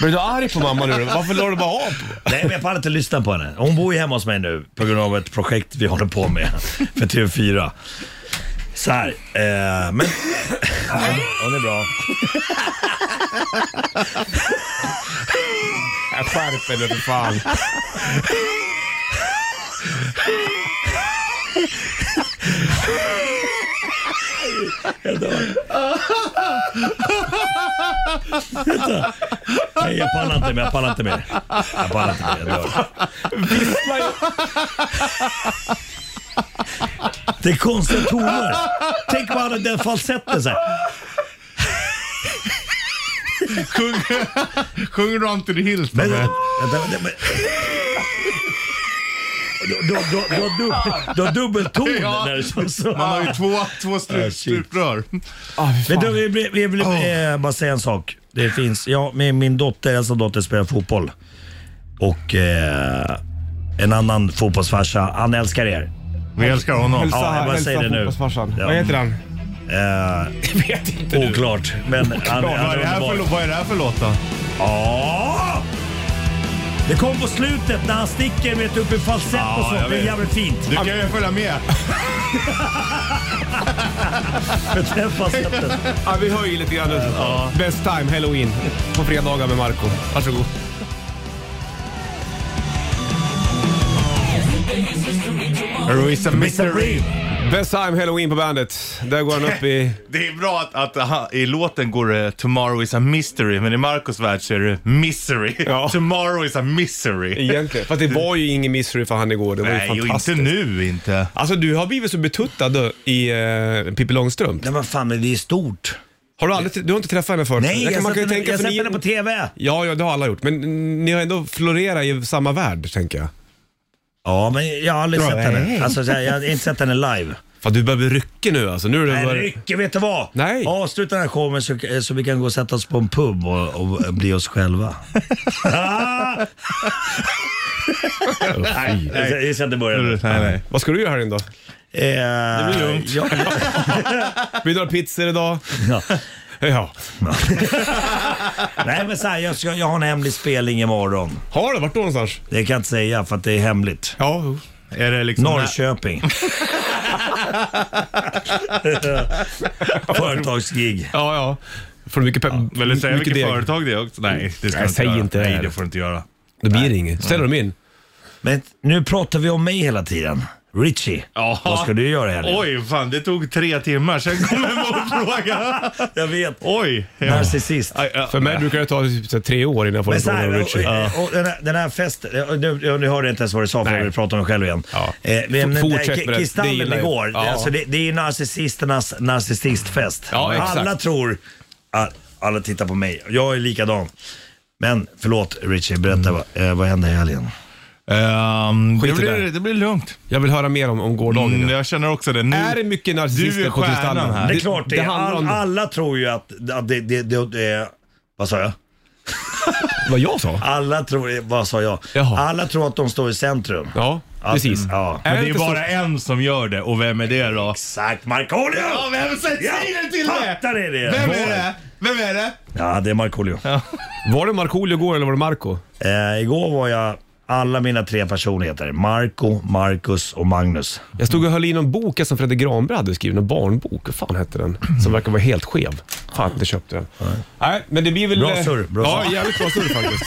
[SPEAKER 2] Blev du arg på mamma nu då? Varför la du bara av?
[SPEAKER 6] Nej, men jag pallar inte lyssna på henne. Hon bor ju hemma hos mig nu på grund av ett projekt vi håller på med för TV4. Så här, eh, men... Hon, hon är bra.
[SPEAKER 2] Skärp dig för fan.
[SPEAKER 6] Nej, jag pallar inte mer. Jag pallar inte mer. Jag pallar inte mer. Jag dör. Det är konstiga toner. Tänk på alla den falsetten så här.
[SPEAKER 3] Sjung, sjung Run to the hills då.
[SPEAKER 6] Men,
[SPEAKER 3] men.
[SPEAKER 6] vänta, vänta, men, du, du, du, du, har dubbel, du har dubbeltoner
[SPEAKER 3] Ja.
[SPEAKER 6] när du så. så.
[SPEAKER 3] Man har ju två, två
[SPEAKER 6] Ah,
[SPEAKER 3] strut,
[SPEAKER 6] shit.
[SPEAKER 3] struprör.
[SPEAKER 6] Men du, vi vill, vi vill eh, bara säga en sak. Det finns, ja, min, min dotter, äldsta dotter spelar fotboll. Och eh, en annan fotbollsfarsa, han älskar er.
[SPEAKER 3] Vi älskar honom.
[SPEAKER 6] Ja, jag bara säger det nu. Ja.
[SPEAKER 2] Vad heter han?
[SPEAKER 6] Eh, oklart. Men han, han
[SPEAKER 3] Vad är, det här för,
[SPEAKER 6] underbar.
[SPEAKER 3] lå- vad är det här för låt då?
[SPEAKER 6] Ja! Det kom på slutet när han sticker vet, du, upp i falsett och
[SPEAKER 3] jag
[SPEAKER 6] sånt. Det är
[SPEAKER 3] vet.
[SPEAKER 6] jävligt fint.
[SPEAKER 3] Du kan ju följa med.
[SPEAKER 6] <laughs> Med den falsetten.
[SPEAKER 2] Ja, vi höjer lite grann nu. Best time, halloween. På fredagar med Marco Varsågod.
[SPEAKER 3] Mr. Mystery.
[SPEAKER 2] Best time, halloween på bandet. Där går han upp
[SPEAKER 3] <laughs>
[SPEAKER 2] i...
[SPEAKER 3] Det är bra att, att aha, i låten går det “Tomorrow is a mystery” men i Marcos värld så är det “Misery”.
[SPEAKER 2] <laughs> Ja.
[SPEAKER 3] “Tomorrow is a misery”.
[SPEAKER 2] Egentligen. Fast det var ju ingen mystery för han igår. Det var ju
[SPEAKER 3] Nej, och
[SPEAKER 2] fantastiskt.
[SPEAKER 3] inte nu inte.
[SPEAKER 2] Alltså du har blivit så betuttad då, i eh, Pippi Långstrump.
[SPEAKER 6] Nej men fan, men det är stort.
[SPEAKER 2] Har du, aldrig, du har inte träffat henne förut?
[SPEAKER 6] Nej,
[SPEAKER 2] kan-
[SPEAKER 6] jag
[SPEAKER 2] man
[SPEAKER 6] har
[SPEAKER 2] kan ju
[SPEAKER 6] sett henne-
[SPEAKER 2] tänka
[SPEAKER 6] jag har
[SPEAKER 2] för
[SPEAKER 6] sett
[SPEAKER 2] ni-
[SPEAKER 6] henne på TV.
[SPEAKER 2] Ja, ja, det har alla gjort. Men mm, ni har ändå florerat i samma värld, tänker jag.
[SPEAKER 6] Ja, men jag har aldrig sett henne. Alltså, så här, jag har inte sett henne
[SPEAKER 2] <laughs>
[SPEAKER 6] live.
[SPEAKER 2] Fan, du börjar bli ryckig nu alltså. Nu är det
[SPEAKER 6] Nej,
[SPEAKER 2] bara-
[SPEAKER 6] Rycke, vet du vad?
[SPEAKER 2] Nej.
[SPEAKER 6] Avsluta den här showen så, så vi kan gå och sätta oss på en pub och, och bli oss själva. Ah! <laughs> nej, nej. Vi ska inte börja nu.
[SPEAKER 3] Nej, nej.
[SPEAKER 2] Vad ska du göra här inne då?
[SPEAKER 6] Eh, det
[SPEAKER 3] blir lugnt.
[SPEAKER 6] Ja,
[SPEAKER 2] Vi drar pizzor idag.
[SPEAKER 6] <laughs> ja.
[SPEAKER 2] Ja.
[SPEAKER 6] Nej, men så här, jag, ska, jag har en hemlig spelning imorgon.
[SPEAKER 2] Har du? Vart då någonstans?
[SPEAKER 6] Det kan jag inte säga för att det är hemligt.
[SPEAKER 2] Ja.
[SPEAKER 3] Är det
[SPEAKER 2] <laughs>
[SPEAKER 3] liksom...
[SPEAKER 6] Norrköping. <laughs> Företagsgig.
[SPEAKER 2] Ja, ja. Får du mycket pepp?
[SPEAKER 3] Vill du säga
[SPEAKER 2] mycket
[SPEAKER 3] vilket
[SPEAKER 2] deg?
[SPEAKER 3] företag det är också? Nej, det ska
[SPEAKER 2] Nej,
[SPEAKER 3] du inte
[SPEAKER 2] säg
[SPEAKER 3] göra.
[SPEAKER 2] inte det
[SPEAKER 3] Nej,
[SPEAKER 2] här.
[SPEAKER 3] det får du inte göra.
[SPEAKER 2] Då blir det inget. Ställer de in?
[SPEAKER 6] Men nu pratar vi om mig hela tiden. Richie,
[SPEAKER 3] Ja.
[SPEAKER 6] vad ska du göra i helgen?
[SPEAKER 3] Oj, fan det tog tre timmar, sen kom en
[SPEAKER 2] <laughs>
[SPEAKER 3] motfråga.
[SPEAKER 6] Jag vet.
[SPEAKER 3] Oj. Ja.
[SPEAKER 6] Narcissist.
[SPEAKER 3] Aj, ja.
[SPEAKER 2] För mig brukar det ta typ så här tre år innan jag får en
[SPEAKER 6] Men så
[SPEAKER 2] fråga
[SPEAKER 6] här,
[SPEAKER 2] av Richie.
[SPEAKER 6] och, och, och den, här, den här festen, nu, nu- nu hörde jag inte ens vad du sa för jag vill prata om det själv igen.
[SPEAKER 2] Ja.
[SPEAKER 6] Eh, men den
[SPEAKER 2] Fortsätt
[SPEAKER 6] där
[SPEAKER 2] med det.
[SPEAKER 6] ki-
[SPEAKER 2] Det
[SPEAKER 6] Kristallen
[SPEAKER 2] gillar jag.
[SPEAKER 6] igår,
[SPEAKER 2] Ja.
[SPEAKER 6] alltså det, det är ju narcissisternas narcissistfest.
[SPEAKER 2] Ja, exakt.
[SPEAKER 6] alla tror, all- alla tittar på mig, jag är likadan. Men förlåt Richie, berätta
[SPEAKER 2] Mm.
[SPEAKER 6] vad, eh, vad hände i helgen?
[SPEAKER 3] Ehm, det,
[SPEAKER 2] Skit i det.
[SPEAKER 3] blir, det blir lugnt.
[SPEAKER 2] Jag vill höra mer om, om gårdagen.
[SPEAKER 3] Mm, jag känner också det. Nu,
[SPEAKER 2] Är det mycket
[SPEAKER 3] Du
[SPEAKER 2] narcissister
[SPEAKER 3] är
[SPEAKER 2] på
[SPEAKER 3] stjärnan
[SPEAKER 2] Kristallen?
[SPEAKER 3] här.
[SPEAKER 6] Det är klart det, är.
[SPEAKER 2] handlar
[SPEAKER 6] all,
[SPEAKER 2] om-
[SPEAKER 6] alla tror ju att, att det, det, det, det, vad sa jag?
[SPEAKER 2] Vad jag sa?
[SPEAKER 6] Alla tror, vad sa jag?
[SPEAKER 2] Jaha.
[SPEAKER 6] Alla tror att de står i centrum.
[SPEAKER 2] Ja,
[SPEAKER 6] Att-
[SPEAKER 2] precis.
[SPEAKER 6] Ja.
[SPEAKER 2] Är
[SPEAKER 3] men
[SPEAKER 2] det
[SPEAKER 3] det är
[SPEAKER 2] inte
[SPEAKER 3] bara en som gör det och vem är det då?
[SPEAKER 6] Exakt, Markoolio!
[SPEAKER 3] Ja, vem säger det till det?
[SPEAKER 6] Fattar det det?
[SPEAKER 3] Vem är det? Vem är det?
[SPEAKER 6] Ja, det är Markoolio.
[SPEAKER 2] Var det Markoolio igår eller var det Marco?
[SPEAKER 6] Eh, igår var jag alla mina tre personligheter. Marco, Marcus och Magnus.
[SPEAKER 2] Jag stod och höll i någon bok som Fredrik Granberg hade skrivit, en barnbok. Vad fan hette den? Som verkar vara helt skev. Fan, det köpte den. Nej. men det blir väl... eh,
[SPEAKER 6] Bra surr, bra
[SPEAKER 2] Ja,
[SPEAKER 6] surr.
[SPEAKER 2] jävligt bra surr <laughs> faktiskt.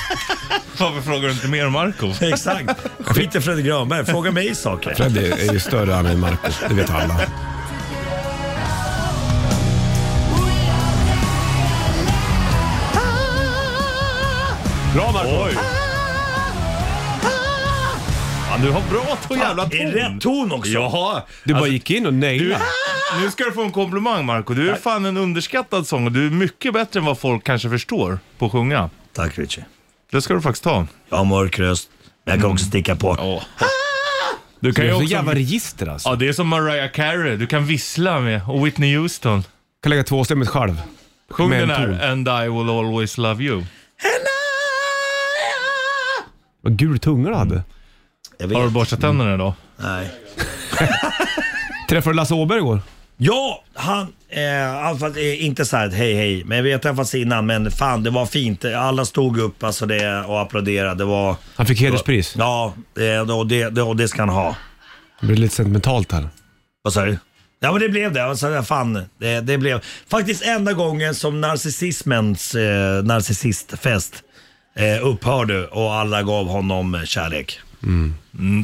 [SPEAKER 3] Varför frågar du inte mer om Marco?
[SPEAKER 6] Exakt. <laughs> Skit i Fredrik Granberg, fråga mig saker.
[SPEAKER 2] Freddy är ju större än Marco, det vet alla. Bra Marco!
[SPEAKER 3] Oj. Ja, du har bra ton, jävla ton.
[SPEAKER 6] I rätt ton också.
[SPEAKER 3] Jaha.
[SPEAKER 2] Du bara gick in och
[SPEAKER 3] Du,
[SPEAKER 2] nailade.
[SPEAKER 3] nu ska du få en komplimang Marco. Du är fan en underskattad sång och du är mycket bättre än vad folk kanske förstår på att sjunga.
[SPEAKER 6] Tack Richie.
[SPEAKER 3] Det ska du faktiskt ta.
[SPEAKER 6] Jag har mörk röst, men jag kan också sticka på.
[SPEAKER 3] Du
[SPEAKER 2] Du
[SPEAKER 3] kan ju
[SPEAKER 2] är så
[SPEAKER 3] också...
[SPEAKER 2] jävla register alltså.
[SPEAKER 3] Ja, det är som Mariah Carey. Du kan vissla med. Och Whitney Houston.
[SPEAKER 2] Kan lägga tvåstämmigt själv.
[SPEAKER 3] Sjung
[SPEAKER 2] Med en
[SPEAKER 3] den här.
[SPEAKER 2] ton.
[SPEAKER 3] And I will always love you.
[SPEAKER 2] Vad gul tunga du hade.
[SPEAKER 6] Jag
[SPEAKER 3] Har du
[SPEAKER 6] vet.
[SPEAKER 3] borstat tänderna idag?
[SPEAKER 6] Nej.
[SPEAKER 2] Träffade du Lasse Åberg igår?
[SPEAKER 6] Ja, han, eh, alltså, eh, inte så här ett hej hej, men vi har träffats innan, men fan det var fint. Alla stod upp alltså, det, och applåderade. Det var,
[SPEAKER 2] Han fick hederspris.
[SPEAKER 6] ja, eh, och det, det, och det ska han ha.
[SPEAKER 2] Det blir lite sentimentalt här.
[SPEAKER 6] Vad sa du? Ja men det blev det. Alltså, fan, det, det blev faktiskt enda gången som narcissismens eh, narcissistfest eh, upphörde och alla gav honom kärlek.
[SPEAKER 3] Mm,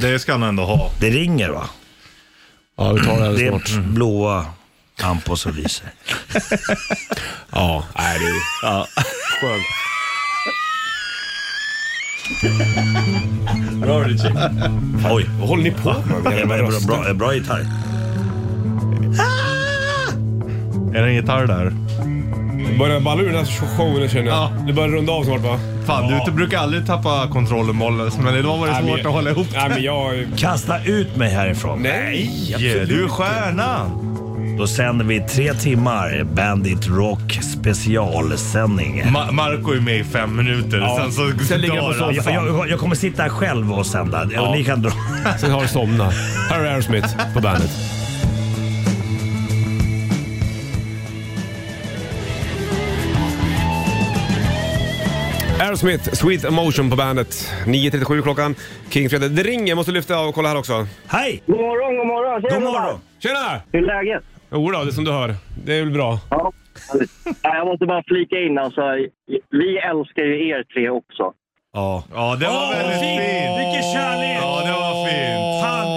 [SPEAKER 3] det ska han ändå ha.
[SPEAKER 6] Det ringer va?
[SPEAKER 2] Ja, vi tar det
[SPEAKER 6] Det
[SPEAKER 2] alldeles snart.
[SPEAKER 6] är blåa lampor som <laughs> lyser.
[SPEAKER 2] Ja, nej, det är ja. skönt.
[SPEAKER 6] Bra Richie. Oj.
[SPEAKER 2] Vad håller ni på med?
[SPEAKER 6] Det är
[SPEAKER 2] Jävla
[SPEAKER 6] Bra,
[SPEAKER 2] röster.
[SPEAKER 6] bra, bra gitarr.
[SPEAKER 3] Är det en gitarr där?
[SPEAKER 2] Börjar balla ur den här showen känner jag.
[SPEAKER 3] Ja.
[SPEAKER 2] Det börjar runda av snart va?
[SPEAKER 3] Fan, du brukar aldrig tappa kontrollen bollen, men idag var det
[SPEAKER 2] Nej, men-
[SPEAKER 3] svårt att hålla ihop.
[SPEAKER 2] Nej men
[SPEAKER 3] <laughs>
[SPEAKER 2] jag...
[SPEAKER 6] Kasta ut mig härifrån.
[SPEAKER 2] Nej!
[SPEAKER 3] Du är stjärna!
[SPEAKER 6] Då sänder vi tre timmar Bandit Rock specialsändning.
[SPEAKER 3] Ma- Marco är med i fem minuter, sen så
[SPEAKER 2] sen ligger jag på
[SPEAKER 3] dör
[SPEAKER 2] soffan.
[SPEAKER 3] han.
[SPEAKER 6] Jag, jag, jag kommer sitta här själv och sända. Och ni kan dra.
[SPEAKER 2] Sen har du somnat. Här är Aerosmith på bandet. Aerosmith, Sweet Emotion på bandet. 9.37 klockan. King Fredrik. Det ringer, jag måste lyfta och kolla här också.
[SPEAKER 6] Hej!
[SPEAKER 9] God morgon, god morgon. Tjena,
[SPEAKER 6] God morgon!
[SPEAKER 2] Tjena!
[SPEAKER 9] Hur är läget?
[SPEAKER 2] Jo då, det är som du hör. Det är väl bra.
[SPEAKER 9] Ja. Nej, Jag måste bara flika in alltså. Vi älskar ju er tre också.
[SPEAKER 6] Ja.
[SPEAKER 3] Ja, det var
[SPEAKER 6] Åh,
[SPEAKER 3] väldigt
[SPEAKER 6] fint.
[SPEAKER 3] fint.
[SPEAKER 6] Vilken kärlek.
[SPEAKER 3] Ja, det var fint.
[SPEAKER 6] Fan.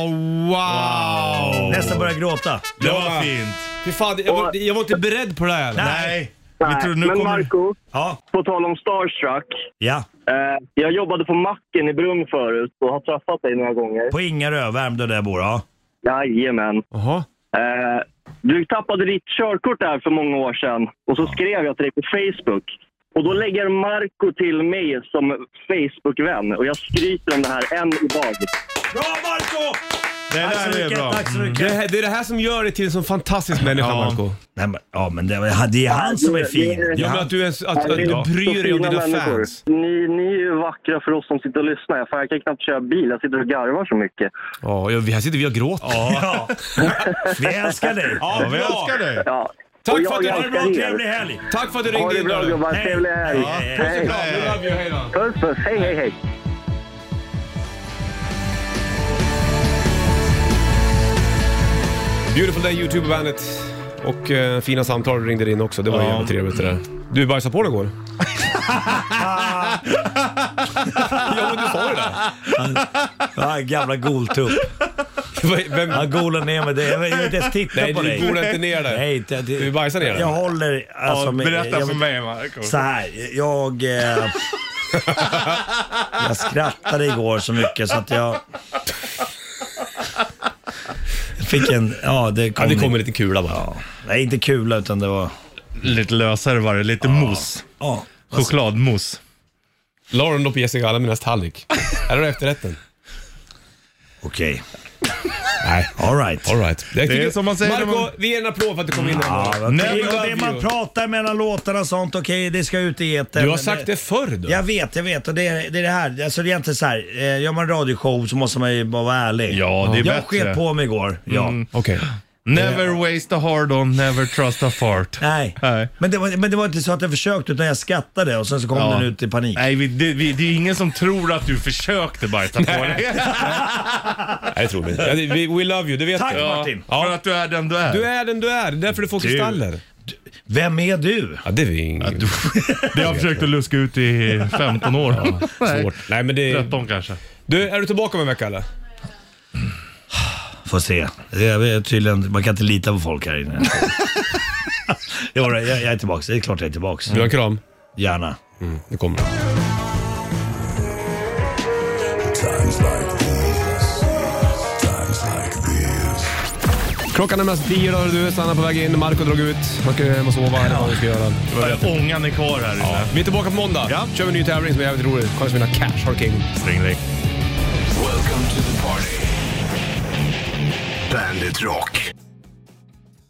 [SPEAKER 3] Wow!
[SPEAKER 6] Nästan börjar gråta.
[SPEAKER 3] Det var fint.
[SPEAKER 2] Fy fan, jag, var, jag var inte beredd på det här.
[SPEAKER 3] Nej. Vi tror nu
[SPEAKER 9] Men
[SPEAKER 3] kommer...
[SPEAKER 9] Marco,
[SPEAKER 6] Ja.
[SPEAKER 9] på tal om Starstruck.
[SPEAKER 6] Ja.
[SPEAKER 9] Eh, jag jobbade på macken i Brunn förut och har träffat dig några gånger.
[SPEAKER 6] På Ingarö, Värmdö där jag bor. Ja.
[SPEAKER 9] Jajamän.
[SPEAKER 2] Jaha.
[SPEAKER 9] Eh, Du tappade ditt körkort där för många år sedan och så skrev jag till dig på Facebook. Och då lägger Marco till mig som Facebook-vän och jag skryter om det här än idag.
[SPEAKER 6] Bra Marco!
[SPEAKER 3] Det
[SPEAKER 6] Tack
[SPEAKER 3] där
[SPEAKER 6] så
[SPEAKER 3] är
[SPEAKER 6] mycket,
[SPEAKER 3] bra. Mm.
[SPEAKER 6] tack så
[SPEAKER 2] Det,
[SPEAKER 6] mycket.
[SPEAKER 2] här- det är det här som gör dig till en sån fantastisk människa,
[SPEAKER 3] Ja.
[SPEAKER 2] Marco.
[SPEAKER 6] Nej, men, ja, men det, var- det är han som är fin.
[SPEAKER 2] Ja, men att du, ens, att, att du
[SPEAKER 9] Ja.
[SPEAKER 2] bryr dig om
[SPEAKER 9] Så
[SPEAKER 2] dina
[SPEAKER 9] fina människor.
[SPEAKER 2] fans.
[SPEAKER 9] Ni, ni är ju vackra för oss som sitter och lyssnar. Jag, fan, jag kan knappt köra bil. Jag sitter och garvar så mycket.
[SPEAKER 2] Ja, ja, vi- här sitter vi och gråter.
[SPEAKER 6] Ja. Vi älskar dig.
[SPEAKER 3] Ja, vi älskar dig.
[SPEAKER 9] Ja.
[SPEAKER 2] Tack
[SPEAKER 9] Och
[SPEAKER 2] för att du-
[SPEAKER 6] Ha en bra
[SPEAKER 9] älskar er.
[SPEAKER 6] trevlig helg.
[SPEAKER 2] Tack för att du
[SPEAKER 9] Ha
[SPEAKER 2] ringde
[SPEAKER 9] det
[SPEAKER 2] in.
[SPEAKER 9] bra
[SPEAKER 2] Daniel.
[SPEAKER 9] gubbar.
[SPEAKER 6] Hej.
[SPEAKER 9] Trevlig helg.
[SPEAKER 6] Ja, hej.
[SPEAKER 9] Hej.
[SPEAKER 2] We love you, hej då.
[SPEAKER 9] Puss puss. Hej hej hej.
[SPEAKER 2] Beautiful Day YouTube bandet och eh, fina samtal du ringde in också. Det var jävligt trevligt det där. Du bajsade på dig igår. <laughs> ja men du sa ju det.
[SPEAKER 6] Ja, gamla goltupp.
[SPEAKER 2] Vad- Vem,
[SPEAKER 6] Han golar ner mig. Det- Jag vill inte ens titta
[SPEAKER 2] Nej,
[SPEAKER 6] på
[SPEAKER 2] du
[SPEAKER 6] dig.
[SPEAKER 2] golar inte ner dig.
[SPEAKER 6] Nej, det, det,
[SPEAKER 2] Du bajsar ner dig.
[SPEAKER 6] Jag håller... Alltså,
[SPEAKER 3] Ja,
[SPEAKER 6] med-
[SPEAKER 3] berätta
[SPEAKER 6] jag,
[SPEAKER 3] för mig Marco.
[SPEAKER 6] Så här, jag... Eh, jag skrattade igår så mycket så att jag... Fick en... Ja, det kom...
[SPEAKER 2] ja, det kommer lite kula bara.
[SPEAKER 6] Ja, nej, inte kula utan det var...
[SPEAKER 3] Lite lösare var det, lite mos.
[SPEAKER 6] Ja, vad sa-
[SPEAKER 3] Chokladmos.
[SPEAKER 2] La du den då på Jessica Almenäs tallrik? Här har du efterrätten.
[SPEAKER 6] okej.
[SPEAKER 2] Nej.
[SPEAKER 6] All right.
[SPEAKER 2] Alright.
[SPEAKER 3] Det är som man säger när
[SPEAKER 2] Marco,
[SPEAKER 3] man-
[SPEAKER 2] vi ger en applåd för att du kom in
[SPEAKER 6] Ja,
[SPEAKER 2] här.
[SPEAKER 6] vad-
[SPEAKER 3] Nej,
[SPEAKER 6] det,
[SPEAKER 3] men-
[SPEAKER 6] och det man pratar mellan låtarna och sånt, okej det ska ut i etern.
[SPEAKER 2] Du har
[SPEAKER 6] men
[SPEAKER 2] sagt det förr du.
[SPEAKER 6] Jag vet, jag vet. Och det, är, det är det här. Alltså det är egentligen så här. Eh, gör man en radioshow så måste man ju bara vara ärlig.
[SPEAKER 3] Ja, det är
[SPEAKER 6] jag
[SPEAKER 3] bättre. Mm.
[SPEAKER 6] sket på mig igår. Ja. Eh.
[SPEAKER 2] Okej.
[SPEAKER 3] Never waste a hard on, never trust a fart.
[SPEAKER 6] Nej.
[SPEAKER 3] Nej.
[SPEAKER 6] Men, det var, men det var inte så att jag försökte utan jag skattade och sen så kom
[SPEAKER 3] Ja.
[SPEAKER 6] den ut i panik.
[SPEAKER 3] Nej, vi, det, vi, det är ingen som tror att du försökte bajsa på
[SPEAKER 6] <laughs>
[SPEAKER 3] dig.
[SPEAKER 2] Nej, det tror vi inte. Ja, det- vi- We love you, det vet
[SPEAKER 6] Tack
[SPEAKER 2] du.
[SPEAKER 6] Martin!
[SPEAKER 3] För att du är den du är.
[SPEAKER 2] Du är den du är, det är därför du får kristaller.
[SPEAKER 6] Vem är du?
[SPEAKER 2] Ja, det är inget
[SPEAKER 3] Det har jag försökt att luska ut i 15 år. Nej,
[SPEAKER 2] svårt. Nej, men det...
[SPEAKER 3] 13 kanske.
[SPEAKER 2] Du, är du tillbaka om en vecka eller?
[SPEAKER 6] Får se. Det är tydligen, man kan inte lita på folk här
[SPEAKER 3] <laughs>
[SPEAKER 6] inne. jo, jag, jag är tillbaks. Det är klart jag är tillbaks.
[SPEAKER 2] Du har en kram?
[SPEAKER 6] Gärna.
[SPEAKER 2] Mm, det kommer den. Klockan är mest tio, hör du. Sanna på väg in, Marco drog ut. Han ska hem och sova eller vad han ska göra.
[SPEAKER 3] Ångan är kvar här inne.
[SPEAKER 2] Vi är tillbaka på måndag.
[SPEAKER 3] Ja.
[SPEAKER 2] kör vi en ny tävling som är jävligt rolig. Chans att vinna cash, har king.
[SPEAKER 3] Stringling.
[SPEAKER 1] Welcome to the party. Bandit Rock.